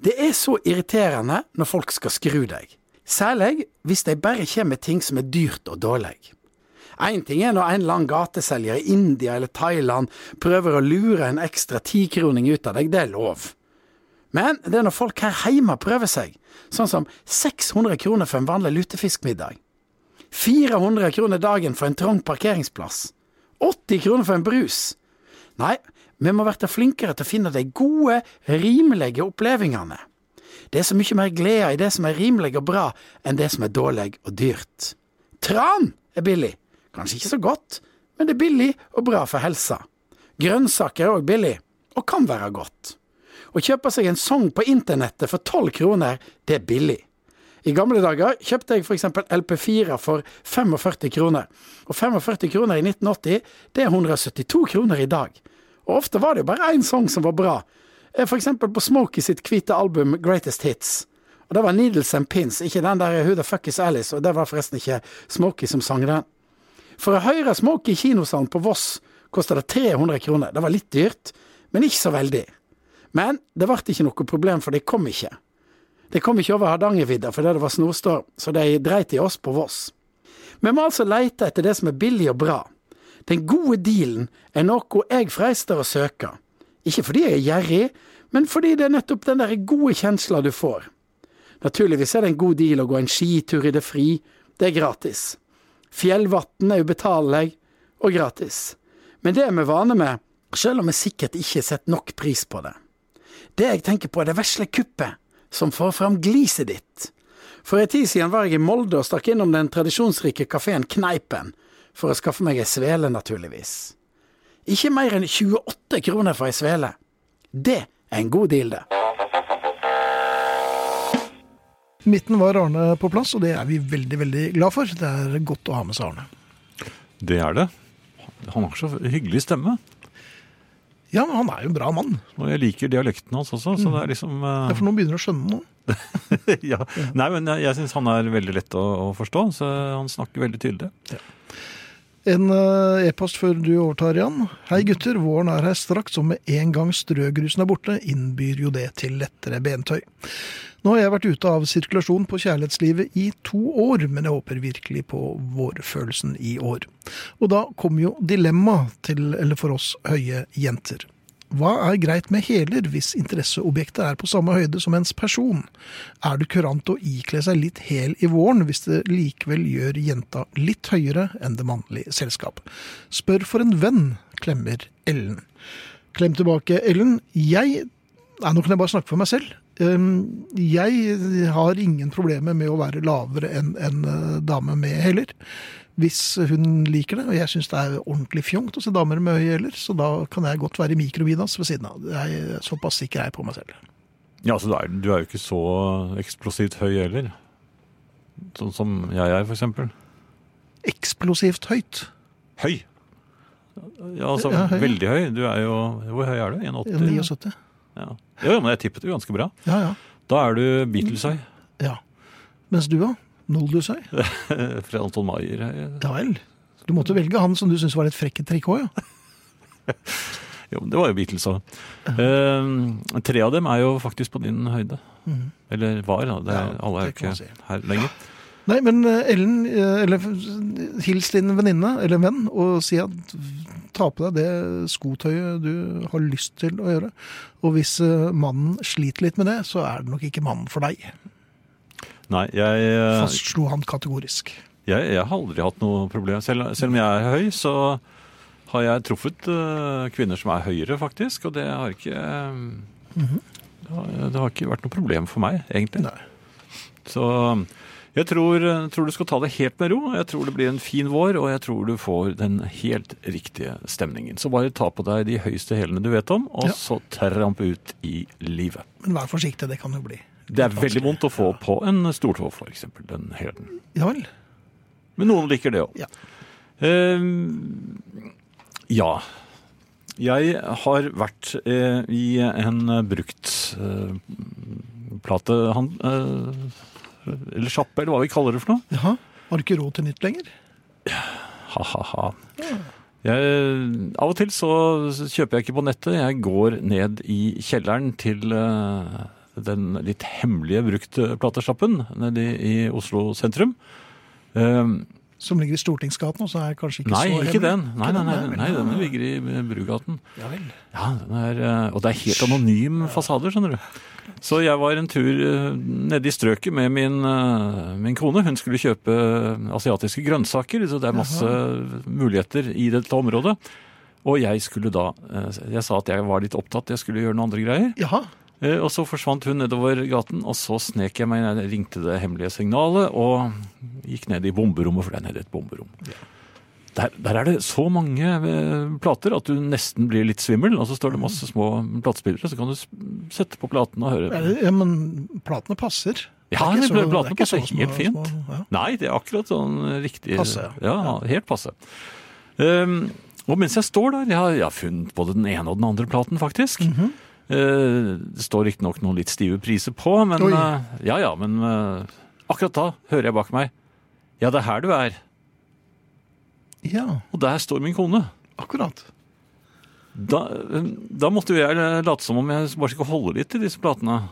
S5: Det er så irriterende når folk skal skru deg, særlig hvis de bare kommer med ting som er dyrt og dårlig. Én ting er når en eller annen gateselger i India eller Thailand prøver å lure en ekstra tikroning ut av deg, det er lov. Men det er når folk her hjemme prøver seg, sånn som 600 kroner for en vanlig lutefiskmiddag, 400 kroner dagen for en trang parkeringsplass, 80 kroner for en brus. Nei, vi må bli flinkere til å finne de gode, rimelige opplevelsene. Det er så mye mer glede i det som er rimelig og bra, enn det som er dårlig og dyrt. Tran er billig. Kanskje ikke så godt, men det er billig og bra for helsa. Grønnsaker er òg billig, og kan være godt. Å kjøpe seg en sang på internettet for tolv kroner, det er billig. I gamle dager kjøpte jeg f.eks. LP4 for 45 kroner. Og 45 kroner i 1980, det er 172 kroner i dag. Og ofte var det jo bare én sang som var bra. Eh, For eksempel på Smokey sitt hvite album Greatest Hits. Og det var Needles and Pins, ikke den der Who the fuck is Alice, og det var forresten ikke Smokey som sang den. For å høre Smokey i kinosalen på Voss kosta det 300 kroner. Det var litt dyrt, men ikke så veldig. Men det ble ikke noe problem, for de kom ikke. De kom ikke over Hardangervidda fordi det var snorstorm, så de dreit i oss på Voss. Vi må altså leite etter det som er billig og bra. Den gode dealen er noe jeg freister å søke. Ikke fordi jeg er gjerrig, men fordi det er nettopp den der gode kjensla du får. Naturligvis er det en god deal å gå en skitur i det fri. Det er gratis. Fjellvatn er ubetalelig og gratis. Men det er vi vane med, selv om vi sikkert ikke setter nok pris på det. Det jeg tenker på er det vesle kuppet som får fram gliset ditt. For en tid siden var jeg i Molde og stakk innom den tradisjonsrike kafeen Kneipen for å skaffe meg ei svele, naturligvis. Ikke mer enn 28 kroner for ei svele. Det er en god deal, det.
S2: Midten var Arne på plass, og det er vi veldig, veldig glad for. Det er godt å ha med seg Arne.
S3: Det er det. Han har så hyggelig stemme.
S2: Ja, men han er jo en bra mann.
S3: Og jeg liker dialekten hans også, så det er liksom
S2: Det er for noen begynner å skjønne noe.
S3: eh, ja. Nei, men jeg, jeg syns han er veldig lett å, å forstå, så han snakker veldig tydelig.
S2: En eh, e-post før du overtar, Jan. Hei gutter, våren er her straks, og med en gang strøgrusen er borte, innbyr jo det til lettere bentøy. Nå har jeg vært ute av sirkulasjon på kjærlighetslivet i to år, men jeg håper virkelig på vårfølelsen i år. Og da kommer jo dilemmaet til, eller for oss, høye jenter. Hva er greit med hæler hvis interesseobjektet er på samme høyde som ens person? Er det kurant å ikle seg litt hæl i våren hvis det likevel gjør jenta litt høyere enn det mannlige selskap? Spør for en venn, klemmer Ellen. Klem tilbake, Ellen. Jeg Nei, nå kan jeg bare snakke for meg selv. Ehm, Jeg har ingen problemer med å være lavere enn en eh, dame med hæler. Hvis hun liker det, og jeg syns det er ordentlig fjongt å se damer med høye hæler, så da kan jeg godt være i mikrobinas ved siden av. Jeg, såpass sikker er jeg på meg selv.
S3: Ja, så du er, du er jo ikke så eksplosivt høy heller. Sånn som jeg er, for eksempel.
S2: Eksplosivt høyt.
S3: Høy! Ja, altså
S2: Ja, høy.
S3: veldig høy. Du er jo Hvor høy er du? 1,80?
S2: 79.
S3: Ja. ja, men jeg tippet jo ganske bra.
S2: Ja, ja.
S3: Da er du Beatles-høy.
S2: ja. Mens du, da? Noldusøy?
S3: Fra Anton Maier.
S2: Ja vel. Du måtte velge han som du syntes var litt frekk i trikot, ja.
S3: Jo, det var jo Beatles òg. Eh, tre av dem er jo faktisk på din høyde. Eller var, da. Det er,
S2: Mhm. Ja,
S3: alle er
S2: det
S3: jo
S2: kan
S3: ikke
S2: man si.
S3: her lenger.
S2: Nei, men eh, Ellen, eh, eller eh, hils din venninne, eller venn, og si at ta på deg det skotøyet du har lyst til å gjøre. Og hvis eh, mannen sliter litt med det, så er det nok ikke mannen for deg.
S3: Nei, jeg, eh,
S2: Fastslo han kategorisk.
S3: jeg, jeg har aldri hatt noe problem. Selv, selv om jeg er høy, så har jeg truffet eh, kvinner som er høyere, faktisk. Og det har ikke eh, det, har, det har ikke vært noe problem for meg, egentlig.
S2: Nei.
S3: Så jeg tror, tror du skal ta det helt med ro. Jeg tror det blir en fin vår, og jeg tror du får den helt riktige stemningen. Så bare ta på deg de høyeste hælene du vet om, og
S2: Ja.
S3: så tramp ut i livet.
S2: Men vær forsiktig, det kan jo bli.
S3: Det er veldig vondt å få på en stortå, for eksempel, den hælen.
S2: Ja vel.
S3: Men noen liker det òg.
S2: Ja.
S3: ja. Jeg har vært eh, i en eh, bruktplatehandel eh, Eller sjappe, eller hva vi kaller det for noe.
S2: Jaha. Har du ikke råd til nytt lenger?
S3: Ha-ha-ha. Jeg, av og til så kjøper jeg ikke på nettet. Jeg går ned i kjelleren til eh, den litt hemmelige bruktplatesjappen nede i Oslo sentrum. Eh,
S2: Som ligger i Stortingsgaten, og så er det kanskje ikke
S3: nei,
S2: så
S3: ikke
S2: hemmelig.
S3: den. Nei, nei, nei,
S2: vel?
S3: nei, den ligger i Brugaten.
S2: Ja vel.
S3: Ja, den er, eh, og det er helt anonym fasader, skjønner du. Så jeg var en tur eh, nede i strøket med min, eh, min kone. Hun skulle kjøpe eh, asiatiske grønnsaker, så det er masse muligheter i dette området. Og jeg skulle da eh, Jeg sa at jeg var litt opptatt, jeg skulle gjøre noen andre greier.
S2: Jaha.
S3: Eh, Og så forsvant hun nedover gaten, og så snek jeg meg inn. Jeg ringte det hemmelige signalet og gikk ned i bomberommet, for det er nede i et bomberom. Der, der er det så mange eh, plater at du nesten blir litt svimmel. Og så står det masse små platespillere, så kan du s- sette på platene og høre.
S2: Er det- Ja, men platene passer. Det
S3: Ja,
S2: er ikke
S3: det
S2: så-
S3: ble-
S2: det
S3: platene
S2: er ikke
S3: passer
S2: så små-
S3: helt fint.
S2: små- ja.
S3: Nei, det er akkurat sånn riktig
S2: Passe,
S3: Ja, helt passe. Ehm, og mens jeg står der, jeg har, jeg har funnet både den ene og den andre platen, faktisk.
S2: Mhm.
S3: Eh, det står riktignok noen litt stive priser på, men
S2: Oi.
S3: eh, Ja ja, men eh, akkurat da hører jeg bak meg Ja, det er her du er.
S2: Ja,
S3: Og der står min kone.
S2: akkurat.
S3: Da, eh, da måtte jo jeg eh, late som om jeg bare skulle holde litt i disse platene.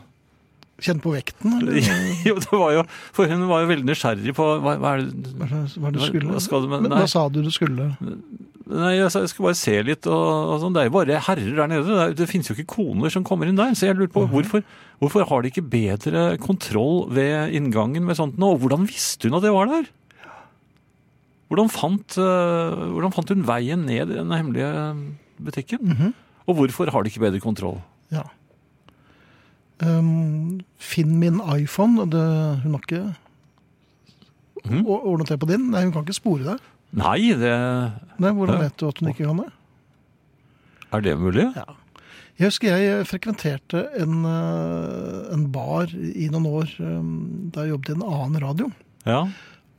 S2: Kjenn på vekten, eller
S3: jo, det var jo, for hun var jo veldig nysgjerrig på hva, hva er det
S2: hva er det- hva er det du
S3: Hva-
S2: skulle?
S3: hva skal du med-
S2: Men
S3: nei.
S2: Hva sa du du skulle?
S3: Nei, jeg, sa- jeg skulle bare se litt. Og, og sånn. Det er jo bare herrer der nede. Det, er, det finnes jo ikke koner som kommer inn der. Så jeg lurer
S2: Mhm.
S3: på hvorfor, hvorfor har de ikke bedre kontroll ved inngangen med sånt nå? Og hvordan visste hun at jeg var der? Hvordan fant, eh, hvordan fant hun veien ned i den hemmelige butikken?
S2: Mhm.
S3: Og hvorfor har de ikke bedre kontroll?
S2: Ja. Ehm, finn min iPhone. og Det, hun har ikke
S3: Mhm.
S2: O- ordnet det på din? Nei, hun kan ikke spore deg.
S3: Nei, det,
S2: Nei, hvordan
S3: Ja.
S2: vet du at hun ikke kan det?
S3: er det mulig?
S2: Jeg husker jeg eh, frekventerte en, eh, en bar i noen år eh, da jeg jobbet i en annen radio.
S3: Ja.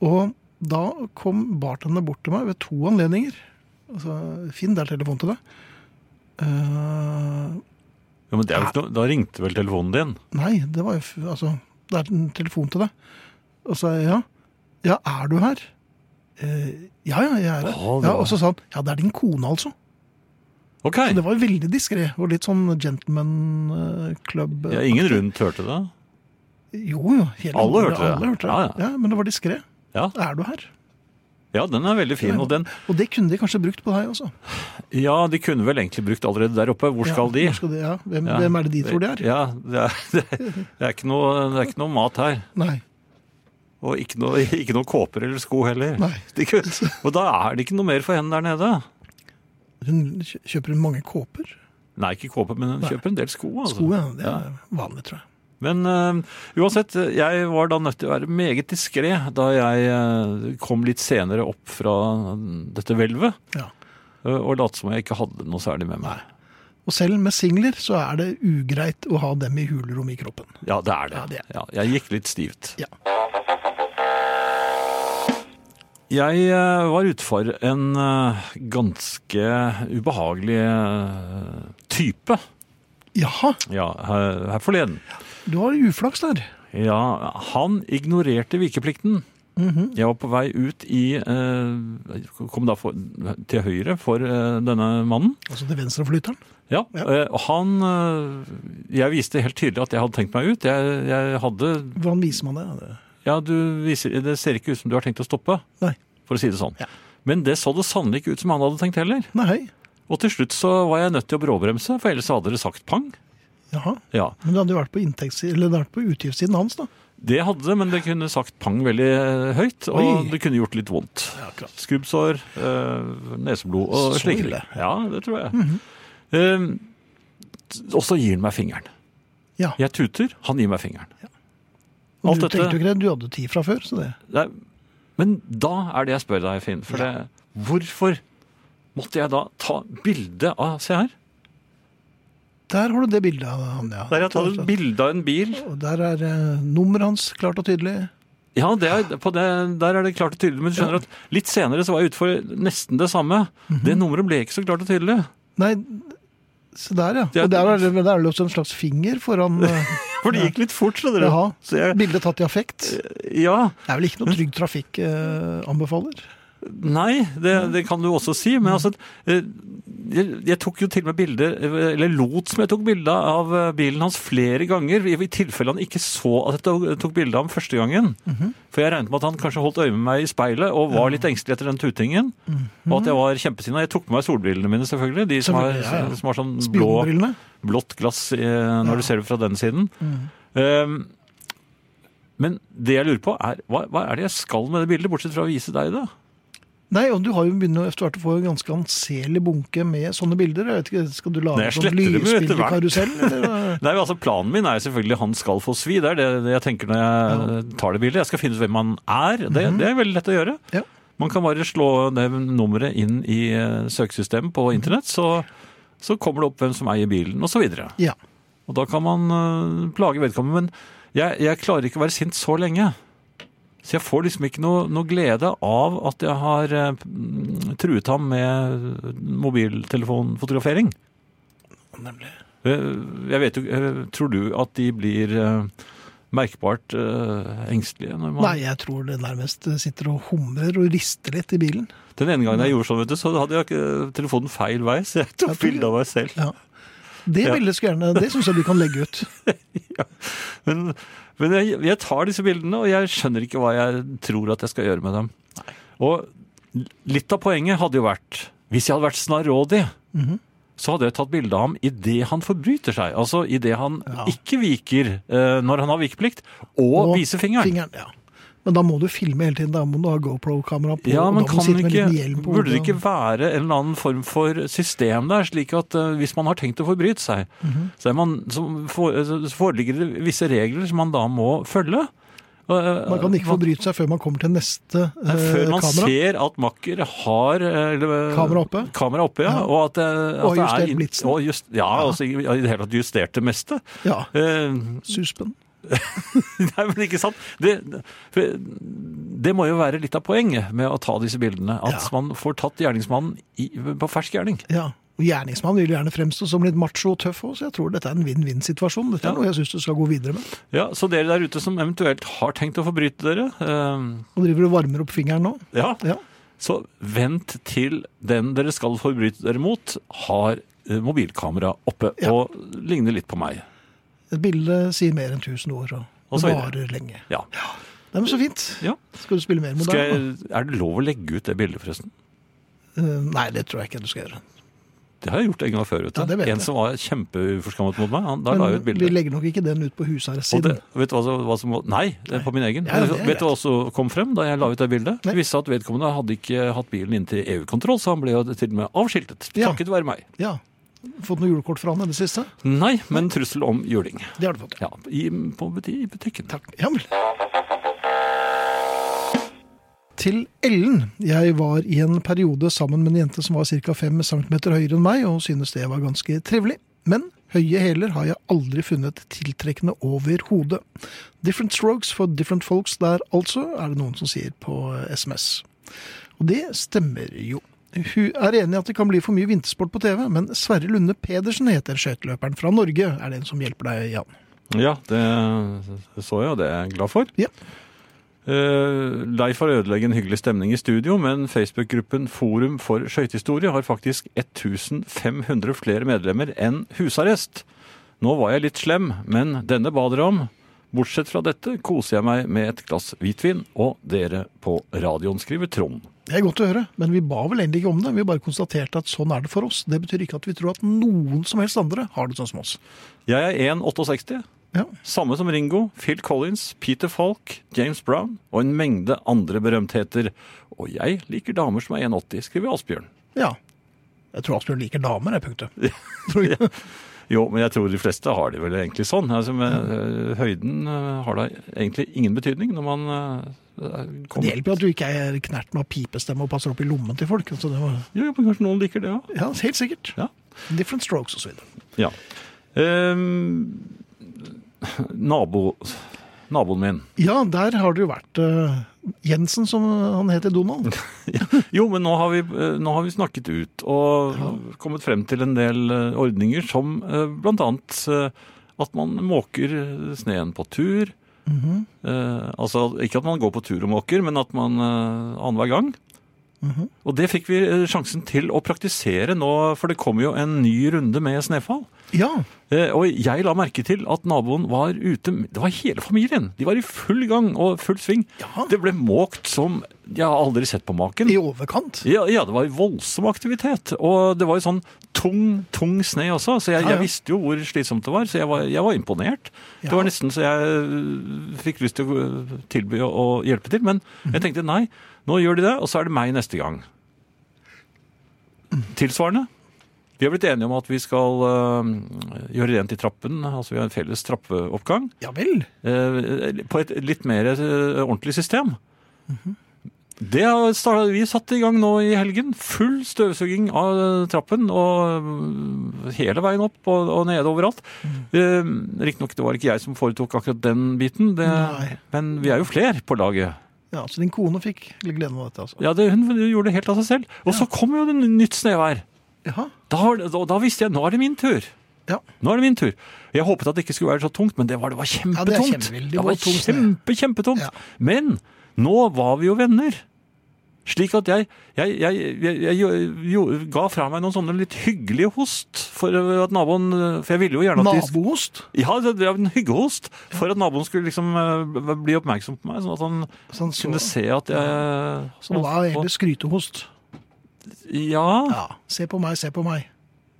S2: Og da kom bartenderne bort til meg ved to anledninger. Altså, Finn, det er telefon til deg. Eh,
S3: Jo, men det er jo ikke noe, da ringte vel telefonen din?
S2: nei, det var jo f- Altså, det er en telefon til deg. Og så sa jeg ja. Ja, er du her? «Eh, ja, ja, jeg er her.
S3: Å, det
S2: Ja,
S3: var-
S2: og så sa han ja, det er din kone, altså.
S3: Ok.
S2: Så det var jo veldig diskré og litt sånn gentleman-klubb.
S3: Ja, ingen rundt hørte det?
S2: eh. Jo, jo. hele-
S3: Alle hørte det.
S2: Alle hørte det.
S3: Ja,
S2: Ja,
S3: ja.
S2: men det var diskré.
S3: Ja.
S2: Er du her?
S3: ja, den er veldig fin. Og den,
S2: Og det kunne de kanskje brukt på deg også.
S3: Ja, de kunne vel egentlig brukt allerede der oppe. Hvor skal de?
S2: Ja, hvor skal de? Ja. Hvem,
S3: Ja.
S2: hvem er det de tror de er?
S3: Ja, det er, det er, det er, ikke, noe, det er ikke noe mat her.
S2: Nei.
S3: Og ikke noe, ikke noe kåper eller sko heller.
S2: Nei.
S3: De kunne, og da er det ikke noe mer for henne der nede.
S2: Hun kjø- kjøper hun mange kåper?
S3: Nei, ikke kåper, men hun kjøper en del sko. Altså.
S2: Sko, ja. Det er vanlig, tror jeg.
S3: Men øh, uansett, jeg var da nødt til å være meget diskré da jeg øh, kom litt senere opp fra mm, dette hvelvet.
S2: Ja.
S3: øh, Og lot som jeg ikke hadde noe særlig med meg.
S2: Og selv med singler så er det ugreit å ha dem i hulrom i kroppen.
S3: Ja, det er det.
S2: Ja, det er
S3: Ja, jeg gikk litt stivt.
S2: Ja.
S3: Jeg eh, var ute for en eh, ganske ubehagelig eh, type
S2: Jaha,
S3: ja, her, her forleden.
S2: du har uflaks der.
S3: Ja, han ignorerte vikeplikten.
S2: Mm-hmm.
S3: Jeg var på vei ut i eh, Kom da for, til høyre for eh, denne mannen.
S2: Altså til venstre for lytteren.
S3: Ja,
S2: Ja.
S3: eh, og han eh, Jeg viste helt tydelig at jeg hadde tenkt meg ut. Jeg, jeg hadde
S2: Hvordan viser man det? Ja, det?
S3: Ja, du viser, det ser ikke ut som du har tenkt å stoppe,
S2: Nei.
S3: for å si det sånn.
S2: Ja.
S3: Men det så det sannelig ikke ut som han hadde tenkt heller.
S2: Nei.
S3: Og til slutt så var jeg nødt til å bråbremse, for ellers hadde det sagt pang.
S2: Jaha.
S3: Ja,
S2: Men det hadde jo vært på, inntekts- eller det hadde vært på utgiftssiden hans, da.
S3: det hadde det, men det kunne sagt pang veldig eh, høyt, og
S2: Oi.
S3: det kunne gjort litt vondt. Skrubbsår, eh, neseblod og
S2: Så
S3: slike ting.
S2: ille.
S3: Ja, det tror jeg.
S2: Mhm.
S3: Eh, og så gir han meg fingeren.
S2: Ja.
S3: Jeg tuter, han gir meg fingeren.
S2: Og du
S3: alt dette-
S2: tenkte jo ikke det, du hadde tid fra før, så det
S3: Nei, men da er det jeg spør deg, Finn. For det, hvorfor måtte jeg da ta bilde av Se her.
S2: Der har du det bildet av han, ja.
S3: Der jeg tar et bilde av en bil.
S2: Og der er eh, nummeret hans klart og tydelig.
S3: Ja, det er, på det, Der er det klart og tydelig. Men du skjønner at litt senere så var jeg ute for nesten det samme. Det nummeret ble ikke så klart og tydelig.
S2: Nei, se der, ja.
S3: Det er-
S2: Og der er det der er det også en slags finger foran eh,
S3: For det gikk litt fort, skjønner du.
S2: Jaha.
S3: Så jeg,
S2: Bildet tatt i affekt.
S3: ja,
S2: Det er vel ikke noe Trygg Trafikk eh, anbefaler?
S3: Nei, det, det kan du også si. Men altså, eh, jeg, jeg tok jo til og med bilder, eh, eller lot som jeg tok bilde av eh, bilen hans flere ganger, i, i tilfelle han ikke så at jeg to- tok bilde av ham første gangen. For jeg regnet med at han kanskje holdt øye med meg i speilet og var litt engstelig etter den tutingen. Og at jeg var kjempesinna. Jeg tok med meg solbrillene mine, selvfølgelig. De som, har,
S2: Selvfølgelig, ja, ja.
S3: som har sånn blå
S2: Spionbrillene?
S3: blått glass eh, når du ser det fra den siden. Um, men det jeg lurer på, er hva, hva er det jeg skal med det bildet, bortsett fra å vise deg det?
S2: Nei, og du har jo begynt å etter hvert å få en ganske anselig bunke med sånne bilder. Jeg vet ikke, Skal du
S3: Nei,
S2: lage
S3: jeg
S2: sånn
S3: sletter dem jo etter hvert.
S2: lysbildekarusell? eller hva?
S3: Nei, men altså Planen min er jo selvfølgelig han skal få svi. Det er det det jeg tenker når jeg eh, tar det bildet. Jeg skal finne ut hvem han er. Det, det er veldig lett å gjøre.
S2: Ja.
S3: Man kan bare slå det nummeret inn i eh, søkesystemet på internett, så, så kommer det opp hvem som eier bilen, osv. Og,
S2: Ja.
S3: og da kan man eh, plage vedkommende. Men jeg, jeg klarer ikke å være sint så lenge. Så jeg får liksom ikke noe, noe glede av at jeg har eh, mm, truet ham med eh, mobiltelefonfotografering.
S2: Nemlig.
S3: Eh, Jeg vet jo, eh, Tror du at de blir eh, merkbart eh, engstelige? Når man...
S2: Nei, jeg tror det nærmest sitter og humrer og rister litt i bilen.
S3: Den ene gangen jeg gjorde sånn, vet du, så hadde jeg ikke- telefonen feil vei, så jeg tok
S2: Jeg tror-
S3: bilde av meg selv.
S2: Det
S3: Ja.
S2: bildet skulle gjerne, det syns jeg du kan legge ut.
S3: Men, men jeg, jeg tar disse bildene, og jeg skjønner ikke hva jeg tror at jeg skal gjøre med dem. Og litt av poenget hadde jo vært, hvis jeg hadde vært snarrådig, så hadde jeg tatt bilde av ham idet han forbryter seg. Altså idet han ikke viker eh, når han har vikeplikt, og,
S2: Og
S3: viser fingeren.
S2: ja. Men da må du filme hele tiden. Da må du ha GoPro-kamera på.
S3: Ja,
S2: og da må
S3: men
S2: du
S3: kan
S2: sitte med en
S3: ikke,
S2: liten hjelm på
S3: burde det
S2: hodet.
S3: ikke være en eller annen form for system der, slik at eh, hvis man har tenkt å forbryte seg,
S2: Mhm.
S3: så, er man, så, for, så foreligger det visse regler som man da må følge. Eh,
S2: Man kan ikke forbryte seg før man kommer til neste
S3: eh, Før
S2: eh,
S3: man
S2: kamera.
S3: ser at makker har eh, eller, eh,
S2: Kamera oppe.
S3: kamera oppe, ja,
S2: Ja.
S3: Og at, eh, at
S2: Og
S3: det er
S2: justert
S3: inn-
S2: blitsen.
S3: Og just, ja, altså i i det hele tatt justert det meste.
S2: Ja,
S3: Eh,
S2: suspen.
S3: Nei, men ikke sant? Det, for det må jo være litt av poenget med å ta disse bildene. At
S2: Ja.
S3: man får tatt gjerningsmannen i, på fersk gjerning.
S2: Ja. Og Gjerningsmannen vil jo gjerne fremstå som litt macho og tøff òg, så jeg tror dette er en vinn-vinn-situasjon. Dette er
S3: Ja.
S2: noe jeg syns du skal gå videre med.
S3: Ja, Så dere der ute som eventuelt har tenkt å forbryte dere, eh,
S2: Og driver og varmer opp fingeren nå.
S3: ja,
S2: Ja.
S3: så vent til den dere skal forbryte dere mot, har eh, mobilkamera oppe
S2: Ja.
S3: og ligner litt på meg.
S2: Et bilde sier mer enn tusen ord, og,
S3: Og så
S2: det
S3: videre.
S2: varer lenge.
S3: Ja.
S2: Nei, men så fint.
S3: Ja.
S2: Skal du spille mer
S3: Skal
S2: moderne?
S3: jeg, er det lov å legge ut det bildet, forresten?
S2: Eh, Nei, det tror jeg ikke du skal gjøre.
S3: Det har jeg gjort en gang før. vet du.
S2: Ja, det vet
S3: en
S2: jeg.
S3: som var kjempeuforskammet mot meg, han, der la
S2: Men
S3: jeg ut
S2: vi
S3: bilde.
S2: legger nok ikke den ut på
S3: Og det,
S2: husarrestsiden.
S3: vet du hva, som- hva som Nei, det er på min egen.
S2: Ja, ja, det er
S3: vet du hva som kom frem da jeg la ut det bildet?
S2: Nei.
S3: Det viste seg at vedkommende hadde ikke hatt bilen inn til EU-kontroll, så han ble jo til og med avskiltet.
S2: Ja.
S3: Takket være meg.
S2: Ja. Fått noe julekort fra han i det siste?
S3: Nei, men trussel om juling.
S2: Det har du fått.
S3: Ja, i, på buti- i butikken.
S2: Takk. Ja vel. Til Ellen. Jeg var i en periode sammen med en jente som var ca. 5 cm høyere enn meg, og synes det var ganske trivelig. Men høye hæler har jeg aldri funnet tiltrekkende overhodet. Different strokes for different folks der altså, er det noen som sier på SMS. Og det stemmer jo. Hun er enig i at det kan bli for mye vintersport på TV, men Sverre Lunde Pedersen heter skøyteløperen fra Norge, er den som hjelper deg, Jan.
S3: Ja, det så jeg, og det er jeg glad for.
S2: Ja.
S3: Eh, Lei for å ødelegge en hyggelig stemning i studio, men Facebook-gruppen Forum for skøytehistorie har faktisk 1500 flere medlemmer enn husarrest. Nå var jeg litt slem, men denne ba dere om. Bortsett fra dette koser jeg meg med et glass hvitvin og dere på radioen, skriver Trond.
S2: Det er godt å høre, men vi ba vel egentlig ikke om det. Vi bare konstaterte at sånn er det for oss. Det betyr ikke at vi tror at noen som helst andre har det sånn som oss.
S3: Jeg er 1,68.
S2: Ja.
S3: Samme som Ringo, Phil Collins, Peter Falk, James Brown og en mengde andre berømtheter. Og jeg liker damer som er 1,80, skriver Asbjørn.
S2: ja. Jeg tror Asbjørn liker damer, det punktet. Oh,
S3: Jo, men jeg tror de fleste har det vel egentlig sånn. Altså, men, øh, høyden øh, har da egentlig ingen betydning når man øh,
S2: Det
S3: kommer
S2: hjelper jo at du ikke er knerten av pipestemme og passer opp i lommen til folk. Så det var,
S3: Jo, jo, men kanskje noen liker det òg.
S2: ja, helt sikkert.
S3: Ja.
S2: Different strokes og så videre.
S3: Ja. Ehm, nabo, naboen min.
S2: Ja, der har det jo vært eh, Jensen, som han heter Donald.
S3: Jo, men nå har vi, eh, nå har vi snakket ut og kommet frem til en del eh, ordninger som eh, blant annet eh, at man måker eh, sneen på tur. Eh, altså ikke at man går på tur og måker, men at man eh, annenhver gang. Og det fikk vi eh, sjansen til å praktisere nå, for det kom jo en ny runde med snøfall.
S2: Ja,
S3: Eh, Og jeg la merke til at naboen var ute Det var hele familien. De var i full gang og full sving.
S2: Ja.
S3: Det ble måkt som Jeg har aldri sett på maken.
S2: i overkant.
S3: Ja, ja, det var voldsom aktivitet. Og det var jo sånn tung, tung sne også, så jeg,
S2: Ja, ja.
S3: jeg visste jo hvor slitsomt det var, så jeg var, jeg var imponert.
S2: Ja.
S3: Det var nesten så jeg øh, fikk lyst til å øh, tilby å å hjelpe til, men
S2: Mhm.
S3: jeg tenkte nei, nå gjør de det, og så er det meg neste gang.
S2: Mm.
S3: Tilsvarende. Vi har blitt enige om at vi skal øh, gjøre rent i trappen, altså vi har en felles trappeoppgang
S2: Ja vel.
S3: eh, på et litt mer eh, ordentlig system. Det har startet, vi satte i gang nå i helgen. Full støvsuging av eh, trappen. Og mm, hele veien opp og, og nede overalt. Eh, Riktignok det var ikke jeg som foretok akkurat den biten, det,
S2: Nei.
S3: men vi er jo fler på laget.
S2: Ja, Så din kone fikk gleden av dette, altså.
S3: Ja, det, Hun gjorde det helt av seg selv. Og så kom jo det nytt snevær.
S2: Jaha.
S3: Da, var det- og da visste jeg nå er det min tur.
S2: Ja.
S3: Nå er det min tur. Jeg håpet at det ikke skulle være så tungt, men det var, det var
S2: Ja, det er
S3: kjempetungt.
S2: kjempeveldig
S3: det var
S2: tungt sne.
S3: kjempe, kjempetungt.
S2: Ja.
S3: Men nå var vi jo venner. Slik at jeg, jeg, jeg, jeg, jeg jo, jo, ga fra meg noen sånne litt hyggelige host for at naboen For jeg ville jo gjerne at de
S2: Naboost,
S3: Ja, det det var en hyggehost for at naboen skulle liksom eh, bli oppmerksom på meg, sånn at han
S2: Så han så-
S3: kunne se at jeg sånn
S2: som var egentlig skrytehost.
S3: Ja.
S2: Ja. Se på meg, se på meg.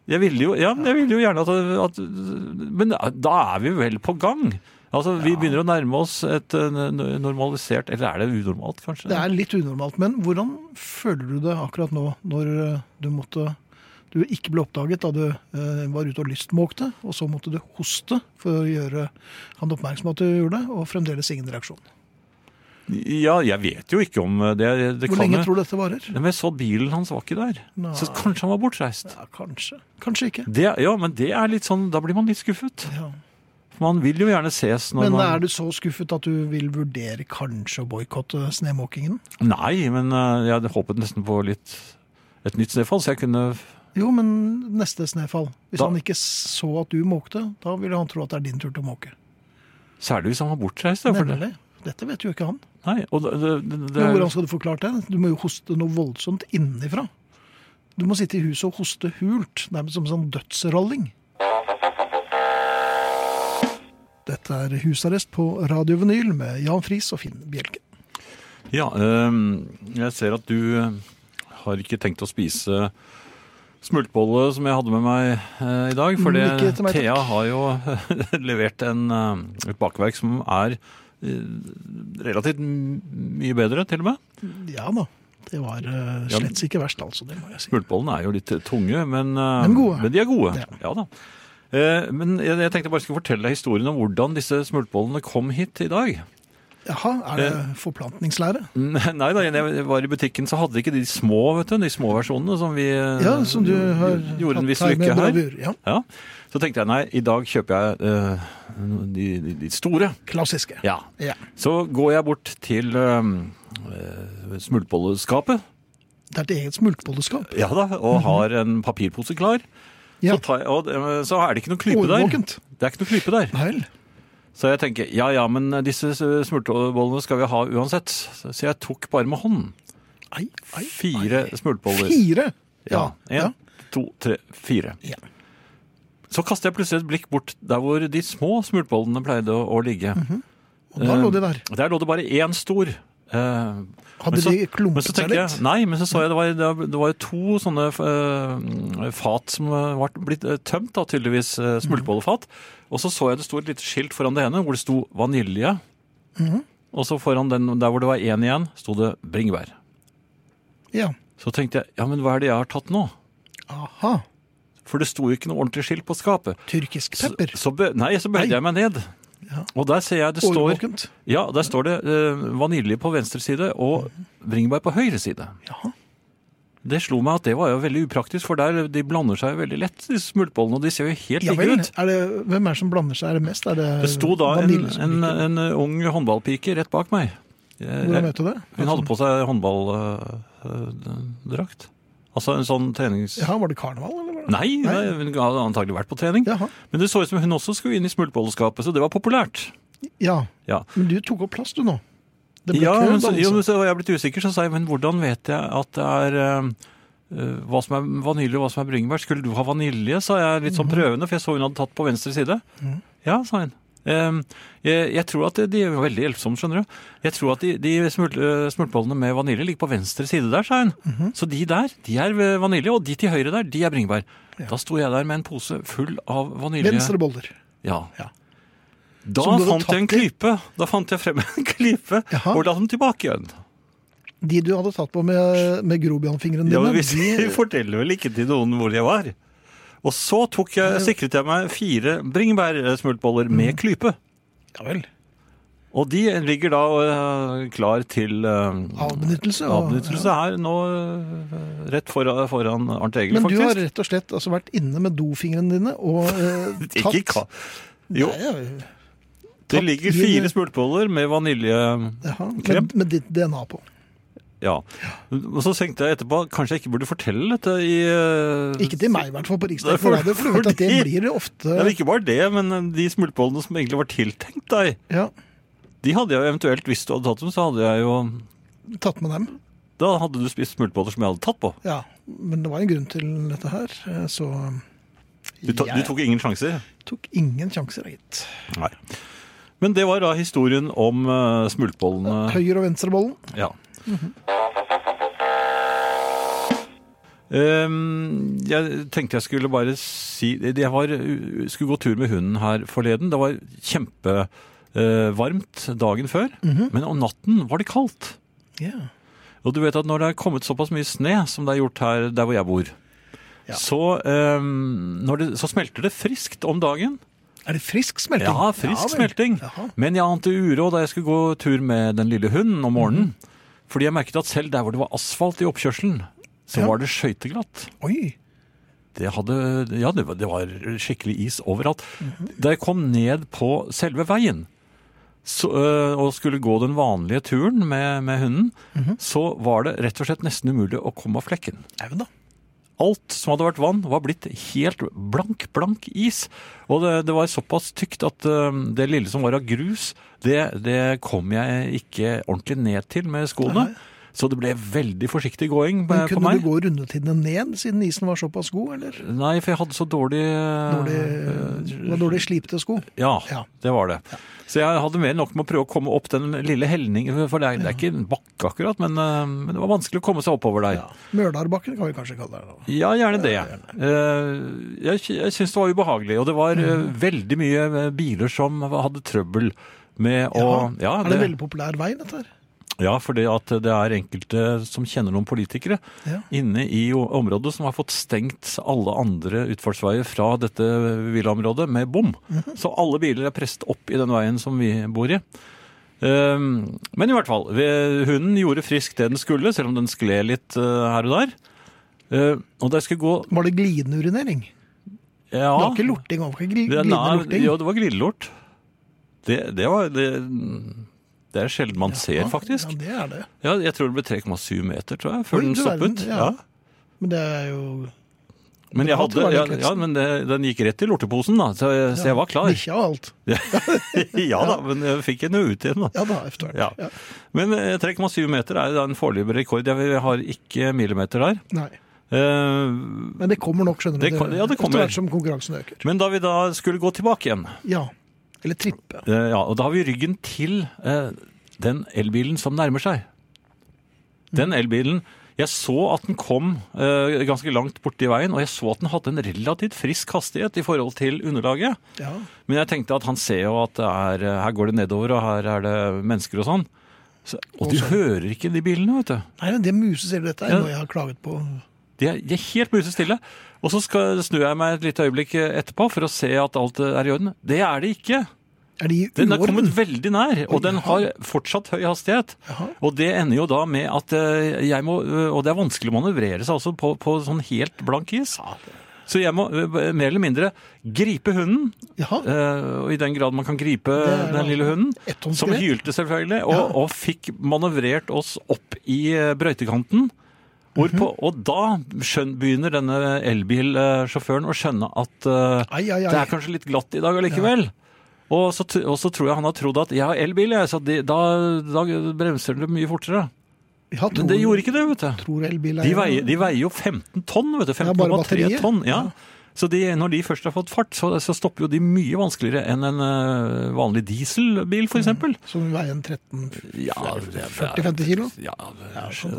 S3: Jeg ville jo, ja, men jeg ville jo gjerne at, at Men da er vi vel på gang? Altså, Vi begynner å nærme oss et eh, n- normalisert Eller er det unormalt, kanskje?
S2: Det er litt unormalt, men hvordan føler du det akkurat nå, når eh, du måtte du ikke ble oppdaget da du eh, var ute og lystmåkte, og så måtte du hoste for å gjøre han oppmerksom på at du gjorde det, og fremdeles ingen reaksjon.
S3: Ja, jeg vet jo ikke om det. det
S2: Hvor lenge tror du dette varer?
S3: Men jeg så bilen hans var ikke der.
S2: Nei.
S3: Så kanskje han var bortreist.
S2: Ja, kanskje. Kanskje ikke.
S3: Det, ja, men det er litt sånn, da blir man litt skuffet.
S2: Ja.
S3: For Man vil jo gjerne ses når
S2: Men
S3: man
S2: er du så skuffet at du vil vurdere kanskje å boikotte snemåkingen?
S3: Nei, men eh, jeg hadde håpet nesten på litt et nytt snøfall, så jeg kunne
S2: Jo, men neste snefall. Hvis
S3: Da-
S2: han ikke så at du måkte, da ville han tro at det er din tur til å måke.
S3: Særlig hvis han var bortreist. Ja, for det.
S2: Nemlig. Dette vet jo ikke han.
S3: Nei, og det, det, det, det,
S2: Men hvordan skal du forklare det? Du må jo hoste noe voldsomt innenfra. Du må sitte i huset og hoste hult, nærmest som en sånn dødsrolling. Dette er husarrest på Radio Vinyl med Jan Friis og Finn Bjelke.
S3: Ja, øhm, jeg ser at du øh, har ikke tenkt å spise smultbolle som jeg hadde med meg øh, i dag, for det-
S2: Mm, Ikke til meg, takk.
S3: Thea har jo levert en, øh, et bakverk som er øh, relativt m- mye bedre, til og med.
S2: Ja da, det var eh,
S3: Ja, men-
S2: slett ikke verst, altså. Det må jeg si.
S3: Smultbollene er jo litt tunge, men, øh,
S2: Men gode.
S3: men de er gode.
S2: Ja.
S3: Ja, da. Eh, Men jeg jeg tenkte jeg bare skulle fortelle deg historien om hvordan disse smultbollene kom hit i dag.
S2: Jaha, er det
S3: Eh,
S2: forplantningslære?
S3: Nei da, jeg var i butikken så hadde de ikke de små, vet du, de små versjonene som vi eh,
S2: Ja, som du har
S3: gjorde en viss
S2: her med
S3: lykke her.
S2: bravur, ja.
S3: Ja. Så tenkte jeg nei, i dag kjøper jeg eh, de, de, de store.
S2: Klassiske.
S3: Ja.
S2: Ja.
S3: Så går jeg bort til eh, eh, smultbolleskapet
S2: Det er et eget smultbolleskap.
S3: ja da, og har en papirpose klar.
S2: Mhm. Ja.
S3: Så, tar jeg, og, eh, så er det ikke noen klype
S2: Årvåkent.
S3: der. Det er ikke noen klype der.
S2: Nei vel.
S3: Så jeg tenker ja ja, men disse smultbollene skal vi ha uansett. Så jeg tok bare med hånden.
S2: Ei, ei.
S3: Fire smultboller.
S2: Fire!
S3: Ja. En,
S2: ja.
S3: to, tre, fire.
S2: Ja.
S3: Så kaster jeg plutselig et blikk bort der hvor de små smultbollene pleide å, å ligge. Eh,
S2: Og Mhm. da lå de der.
S3: Der lå det bare én stor. eh,
S2: Hadde
S3: men så-
S2: de klumpet
S3: men så
S2: seg
S3: tenkte
S2: litt?
S3: Jeg, nei, men så så jeg det var, det var- det var jo to sånne eh, fat som var blitt eh, tømt, da, tydeligvis eh,
S2: Mhm.
S3: smultbollefat. Og så så jeg det sto et lite skilt foran det ene hvor det sto vanilje.
S2: Mhm.
S3: Og så foran den der hvor det var én igjen, sto det bringebær. Eh,
S2: Ja.
S3: Så tenkte jeg ja, men hva er det jeg har tatt nå?
S2: Aha.
S3: For det sto jo ikke noe ordentlig skilt på skapet.
S2: Tyrkisk
S3: Så-
S2: pepper.
S3: Så, bø- nei, så bøyde
S2: Nei.
S3: jeg meg ned. Og der ser jeg det står,
S2: Årvåkent.
S3: ja, der står det eh, vanilje på venstre side og bringebær på høyre side.
S2: Jaha.
S3: Det slo meg at det var jo veldig upraktisk, for der de blander seg veldig lett, de smultbollene, og de ser jo helt
S2: Ja vel.
S3: like ut.
S2: Er det, hvem er det som blander seg? Er det mest? Er det,
S3: Det sto da en,
S2: vanilje som
S3: en, eh,
S2: liker?
S3: en ung håndballpike rett bak meg. Jeg-
S2: Hvordan vet du det?
S3: Hun hadde på seg håndballdrakt. Altså en sånn trenings...
S2: Ja, Var det karneval, eller? Var det?
S3: Nei, nei, hun hadde antagelig vært på trening.
S2: Jaha.
S3: Men det så ut som hun også skulle inn i smultbolleskapet, så det var populært.
S2: Ja.
S3: Ja,
S2: Men du tok opp plass, du nå. Det ble
S3: ja
S2: kø,
S3: men så,
S2: altså.
S3: jo, men så var jeg blitt usikker, så sa jeg, men hvordan vet jeg at det er eh, eh, hva som er vanilje og hva som er bringebær? Skulle du ha vanilje, sa jeg litt sånn
S2: Mhm.
S3: prøvende, for jeg så hun hadde tatt på venstre side. Ja, sa hun. Ehm, jeg, jeg tror at de- de er veldig hjelpsomme, skjønner du. Jeg tror at de, de smult, eh, smultbollene med vanilje ligger på venstre side der, sa hun.
S2: Mhm.
S3: Så de der, de er eh, vanilje, og de til høyre der, de er bringebær. Da sto jeg der med en pose full av vanilje.
S2: Venstre boller.
S3: Ja.
S2: Ja.
S3: Da
S2: Som du hadde
S3: fant jeg en
S2: tatt i?
S3: klype. Da fant jeg frem en klype
S2: Jaha.
S3: og la dem tilbake igjen.
S2: De du hadde tatt på med, med grobianfingeren
S3: Ja,
S2: din.
S3: men hvis
S2: de-
S3: jeg forteller vel ikke til noen hvor jeg var. Og så tok
S2: Mm.
S3: jeg, sikret jeg meg fire bringebærsmultboller med klype.
S2: Ja vel.
S3: Og de ligger da eh, klar til
S2: Ah,
S3: eh,
S2: Avbenyttelse. og-
S3: avnyttelse her nå, eh, rett foran, foran Arnt Egil,
S2: Men du
S3: faktisk.
S2: har rett og slett altså vært inne med dofingrene dine og eh, tatt
S3: Ikke ka... Jo,
S2: Nei, ja,
S3: det
S2: tatt
S3: ligger
S2: i-
S3: fire smultboller med vanilje...
S2: jaha,
S3: Krem?
S2: med, med ditt DNA på.
S3: Ja. Og så tenkte jeg etterpå, kanskje jeg ikke burde fortelle dette i... eh,
S2: Ikke til meg, i hvert fall, på
S3: Nei, for-
S2: Riksdekken Radio, for du vet at det
S3: fordi-
S2: blir
S3: Ja, men
S2: ofte
S3: ikke bare det, men eh, de smultbollene som egentlig var tiltenkt deg,
S2: ja,
S3: de hadde jeg jo eventuelt, hvis du hadde tatt dem, så hadde jeg jo
S2: tatt med dem.
S3: Da hadde du spist smultboller som jeg hadde tatt på.
S2: Ja, men det var en grunn til dette her, eh, så
S3: Du, ta, du
S2: jeg
S3: tok ingen sjanser.
S2: tok ingen sjanser, gitt.
S3: Nei. Men det var da historien om eh, smultbollene.
S2: Høyre- og venstrebollen.
S3: Ja. Ehm, jeg tenkte jeg skulle bare si Jeg var, skulle gå tur med hunden her forleden. Det var kjempevarmt dagen før, men om natten var det kaldt.
S2: Ja.
S3: Og du vet at når det er kommet såpass mye sne som det er gjort her der hvor jeg bor,
S2: Ja.
S3: så, ehm, når det, så smelter det friskt om dagen.
S2: Er det frisk smelting?
S3: Ja, frisk
S2: vel.
S3: smelting.
S2: Jaha.
S3: Men jeg ante uro da jeg skulle gå tur med den lille hunden om morgenen.
S2: Mhm.
S3: Fordi jeg merket at selv der hvor det var asfalt i oppkjørselen, så
S2: Ja.
S3: var det skøyteglatt.
S2: Oi,
S3: Det, hadde, ja, det, var, det var skikkelig is overalt.
S2: Mhm.
S3: Da jeg kom ned på selve veien så, øh, og skulle gå den vanlige turen med, med hunden,
S2: Mhm.
S3: så var det rett og slett nesten umulig å komme av flekken.
S2: au da.
S3: Alt som hadde vært vann, var blitt helt blank, blank is. Og det, det var såpass tykt at øhm, det lille som var av grus, det, det kom jeg ikke ordentlig ned til med skoene. Så det ble veldig forsiktig gåing
S2: Men
S3: eh, på
S2: kunne
S3: meg.
S2: du gå rundetidene ned, siden isen var såpass god, eller?
S3: Nei, for jeg hadde så dårlig, eh,
S2: Dårlig, det var dårlig slipte sko.
S3: Ja,
S2: Ja.
S3: det var det. Så jeg hadde mer enn nok med å prøve å komme opp den lille helningen, for det er, det er ikke en bakke akkurat, men, eh, men det var vanskelig å komme seg oppover der.
S2: Mølarbakken kan vi kanskje kalle det. da.
S3: Ja, gjerne det. Eh, Jeg, sy- jeg syns det var ubehagelig, og det var eh,
S2: Mm.
S3: veldig mye eh, biler som hadde trøbbel med å ja,
S2: Er det en veldig populær vei, dette her?
S3: ja, for det at det er enkelte som kjenner noen politikere
S2: Ja.
S3: inne i o- området som har fått stengt alle andre utfartsveier fra dette villaområdet med bom.
S2: Mhm.
S3: Så alle biler er presset opp i den veien som vi bor i. Ehm, men i hvert fall, vi- hunden gjorde frisk det den skulle, selv om den skled litt eh, her og der. Eh, og da jeg skulle gå
S2: Var det glidende urinering?
S3: ja,
S2: Det var ikke lorting? Det var ikke gli-
S3: det-
S2: glidende
S3: nei,
S2: lorting?
S3: Ja, det var glidelort. Det, det var det, det er sjelden man ser, faktisk.
S2: Ja, det er det.
S3: Ja, jeg tror det ble 3,7 meter, tror jeg, før
S2: Oi,
S3: den
S2: du verden,
S3: stoppet.
S2: ja.
S3: Ja.
S2: Men det er jo
S3: Men, jeg
S2: Ja, det
S3: hadde,
S2: var
S3: ja,
S2: litt leksen.
S3: ja, men det, den gikk rett i lorteposen, da, så, jeg- så jeg var klar.
S2: bikkja og alt.
S3: ja da, men jeg fikk henne ut igjen, da.
S2: Ja da, etter hvert.
S3: Ja.
S2: Ja.
S3: Men eh, 3,7 meter er jo da en foreløpig rekord. Jeg har ikke millimeter der.
S2: Nei.
S3: Eh,
S2: Men det kommer nok, skjønner du.
S3: Det kan- ja, det kommer.
S2: Etter hvert som konkurransen øker.
S3: Men da vi da skulle gå tilbake igjen,
S2: Ja. Eller trippe.
S3: eh, ja, og da har vi ryggen til eh, den elbilen som nærmer seg. Den elbilen Jeg så at den kom eh, ganske langt borti veien, og jeg så at den hadde en relativt frisk hastighet i forhold til underlaget.
S2: Ja.
S3: Men jeg tenkte at han ser jo at det er, eh, her går det nedover, og her er det mennesker og sånn. Så, og du hører ikke de bilene, vet du.
S2: Nei, det musesier dette er
S3: Ja.
S2: noe jeg har klaget på.
S3: De er, de er helt musestille. Og så skal, snur jeg meg et lite øyeblikk eh, etterpå for å se at alt eh, er i orden. Det er det ikke.
S2: Er de i
S3: Den er
S2: uorden?
S3: kommet veldig nær, og den har fortsatt høy hastighet. Og det ender jo da med at eh, jeg må eh, Og det er vanskelig å manøvrere seg altså på, på sånn helt blank is. Så jeg må eh, mer eller mindre gripe hunden,
S2: Jaha.
S3: Eh, og i den grad man kan gripe
S2: er
S3: den
S2: da
S3: lille hunden,
S2: ettonns
S3: som
S2: grep.
S3: hylte selvfølgelig, og, og fikk manøvrert oss opp i eh,
S2: Mhm.
S3: brøytekanten. Hvorpå, Og da skjøn, begynner denne elbilsjåføren å skjønne at eh,
S2: Ai, ai, ai.
S3: det er kanskje litt glatt i dag allikevel. Og, så, t- og så tror jeg han har trodd at jeg har elbil, jeg, så de, da, da bremser det mye fortere.
S2: Ja, tror,
S3: Men det gjorde ikke det, vet du.
S2: Tror elbileierne.
S3: De veier, de veier jo 15 tonn, vet du.
S2: Ja, bare
S3: 15,3
S2: batteriet.
S3: tonn. Ja. Så de, når de først har fått fart, så, så stopper jo de mye vanskeligere enn en eh, vanlig dieselbil,
S2: Mm.
S3: for eksempel.
S2: Som veier en 13-40-50
S3: Ja, det er-
S2: kilo. sånn,
S3: ja,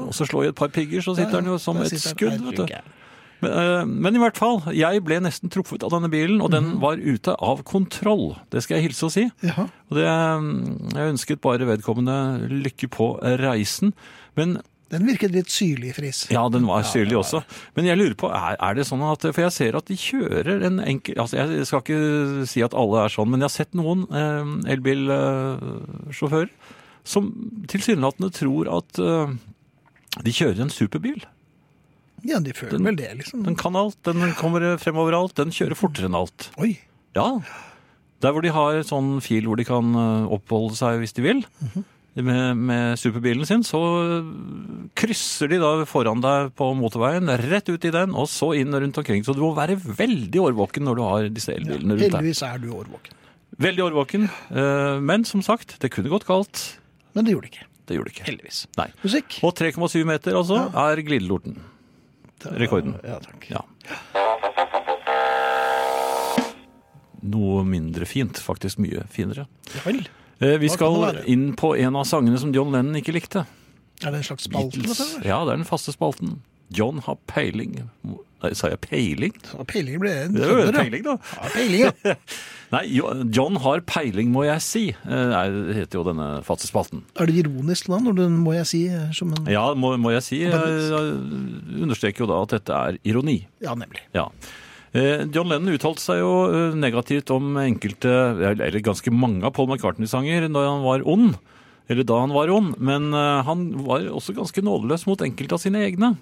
S3: og så slår jeg et par pigger, så sitter
S2: Ja,
S3: han jo som
S2: der
S3: et
S2: sitter han.
S3: skudd, vet du.
S2: Herregud.
S3: Men, eh, men i hvert fall, jeg ble nesten truffet av denne bilen,
S2: Mhm.
S3: og den var ute av kontroll. Det skal jeg hilse og mm, si.
S2: Jaha.
S3: Og det, eh, jeg ønsket bare vedkommende lykke på reisen. Men
S2: Den virket litt syrlig, Friis.
S3: Ja, den var syrlig også. Men jeg lurer på, er, er det sånn at For jeg ser at de kjører en enkel altså Jeg skal ikke si at alle er sånn, men jeg har sett noen eh, elbilsjåfører som tilsynelatende tror at eh, de kjører en superbil.
S2: Ja, de føler
S3: Den-
S2: vel det, liksom.
S3: Den kan alt, den kommer frem overalt, den kjører fortere enn alt.
S2: Oi.
S3: Ja. Der hvor de har et sånn fil hvor de kan eh, oppholde seg hvis de vil.
S2: Mhm.
S3: Med, med superbilen sin, så eh, krysser de da foran deg på motorveien, rett ut i den, og så inn rundt omkring. Så du må være veldig årvåken når du har disse elbilene rundt deg.
S2: Heldigvis er du årvåken.
S3: Veldig årvåken. eh, Men som sagt, det kunne gått galt.
S2: Men det gjorde det ikke.
S3: Det gjorde det ikke.
S2: Heldigvis.
S3: Nei.
S2: Musikk.
S3: Og 3,7 meter, altså, er glidelorten. rekorden.
S2: Ja, takk.
S3: Ja. Noe mindre fint, faktisk mye finere.
S2: Ja vel.
S3: Eh, Vi
S2: Hva kan
S3: skal
S2: det være?
S3: inn på en av sangene som John Lennon ikke likte.
S2: Er det en slags spalte? dette her?
S3: Ja, det er den faste spalten. John har peiling Nei, Sa jeg peiling?
S2: Ja, Peiling ble en
S3: Det er jo
S2: trønder, ja.
S3: peiling, da.
S2: Ja, peiling, ja.
S3: Nei, Jo- John har peiling, må jeg si, eh, er- heter jo denne faste spalten.
S2: Er det ironisk da, når du, må jeg si, eh, som en
S3: Ja, må, må jeg si. Jeg, jeg understreker jo da at dette er ironi.
S2: Ja, nemlig.
S3: Ja. Eh, John Lennon uttalte seg jo eh, negativt om enkelte, eller eller ganske mange av Paul McCartney-sanger da han var ond. Eller da han var ond. Men eh, han var også ganske nådeløs mot enkelte av sine egne.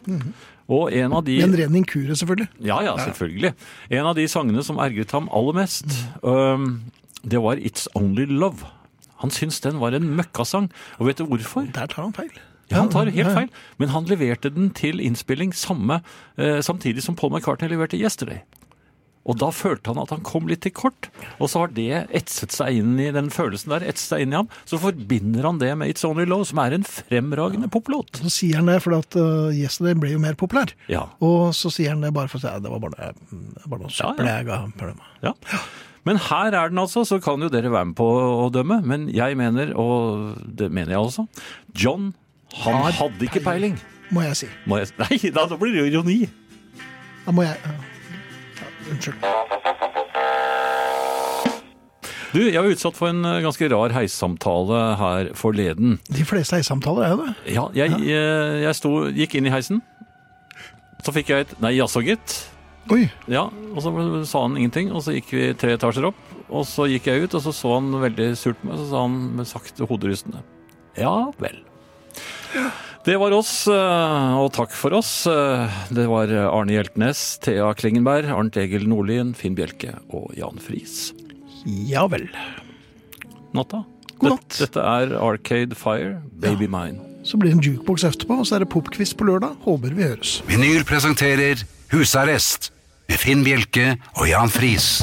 S3: Og en av de
S2: Med en ren inkurie, selvfølgelig.
S3: Ja, ja, selvfølgelig. En av de sangene som ergret ham aller mest, øhm, det var It's Only Love. Han syntes den var en møkkasang. Og vet du hvorfor?
S2: Der tar han feil.
S3: Ja, han tar helt feil. Men han leverte den til innspilling samme, eh, samtidig som Paul McCartney leverte Yesterday. Og da følte han at han kom litt til kort. Og så har det etset seg inn i den følelsen der, etset seg inn i ham. Så forbinder han det med It's Only Love, som er en fremragende poplåt.
S2: Så sier han det fordi at uh, Yesterday ble jo mer populær.
S3: Ja.
S2: Og så sier han det bare for å si at det var bare, det var bare noe søppel
S3: Ja,
S2: jeg ga ham for dem.
S3: Ja. Men her er den altså, så kan jo dere være med på å dømme. Men jeg mener, og det mener jeg altså, John han hadde ikke peiling.
S2: Må jeg si.
S3: Må jeg, nei, da da blir det jo ironi.
S2: Da må jeg ja. Ja, Unnskyld.
S3: Du, jeg var utsatt for en eh, ganske rar heissamtale her forleden.
S2: De fleste heisamtaler er jo det.
S3: Ja, jeg, eh, jeg sto, gikk inn i heisen. Så fikk jeg et nei, jaså, gitt.
S2: Oi,
S3: Ja, og så sa han ingenting, og så gikk vi tre etasjer opp. Og så gikk jeg ut, og så så han veldig surt på meg, og så sa han med sakte hoderystende Ja vel. Det var oss, eh, og takk for oss. Eh, Det var Arne Hjeltnes, Thea Klingenberg, Arnt Egil Nordlien, Finn Bjelke og Jan Friis.
S2: ja vel.
S3: Natta.
S2: God natt.
S3: Dette, dette er Arcade Fire, Baby Mine.
S2: Så blir det en jukebox etterpå, og så er det popquiz på lørdag. Håper vi høres.
S1: Vinyl presenterer Husarrest med Finn Bjelke og Jan Friis.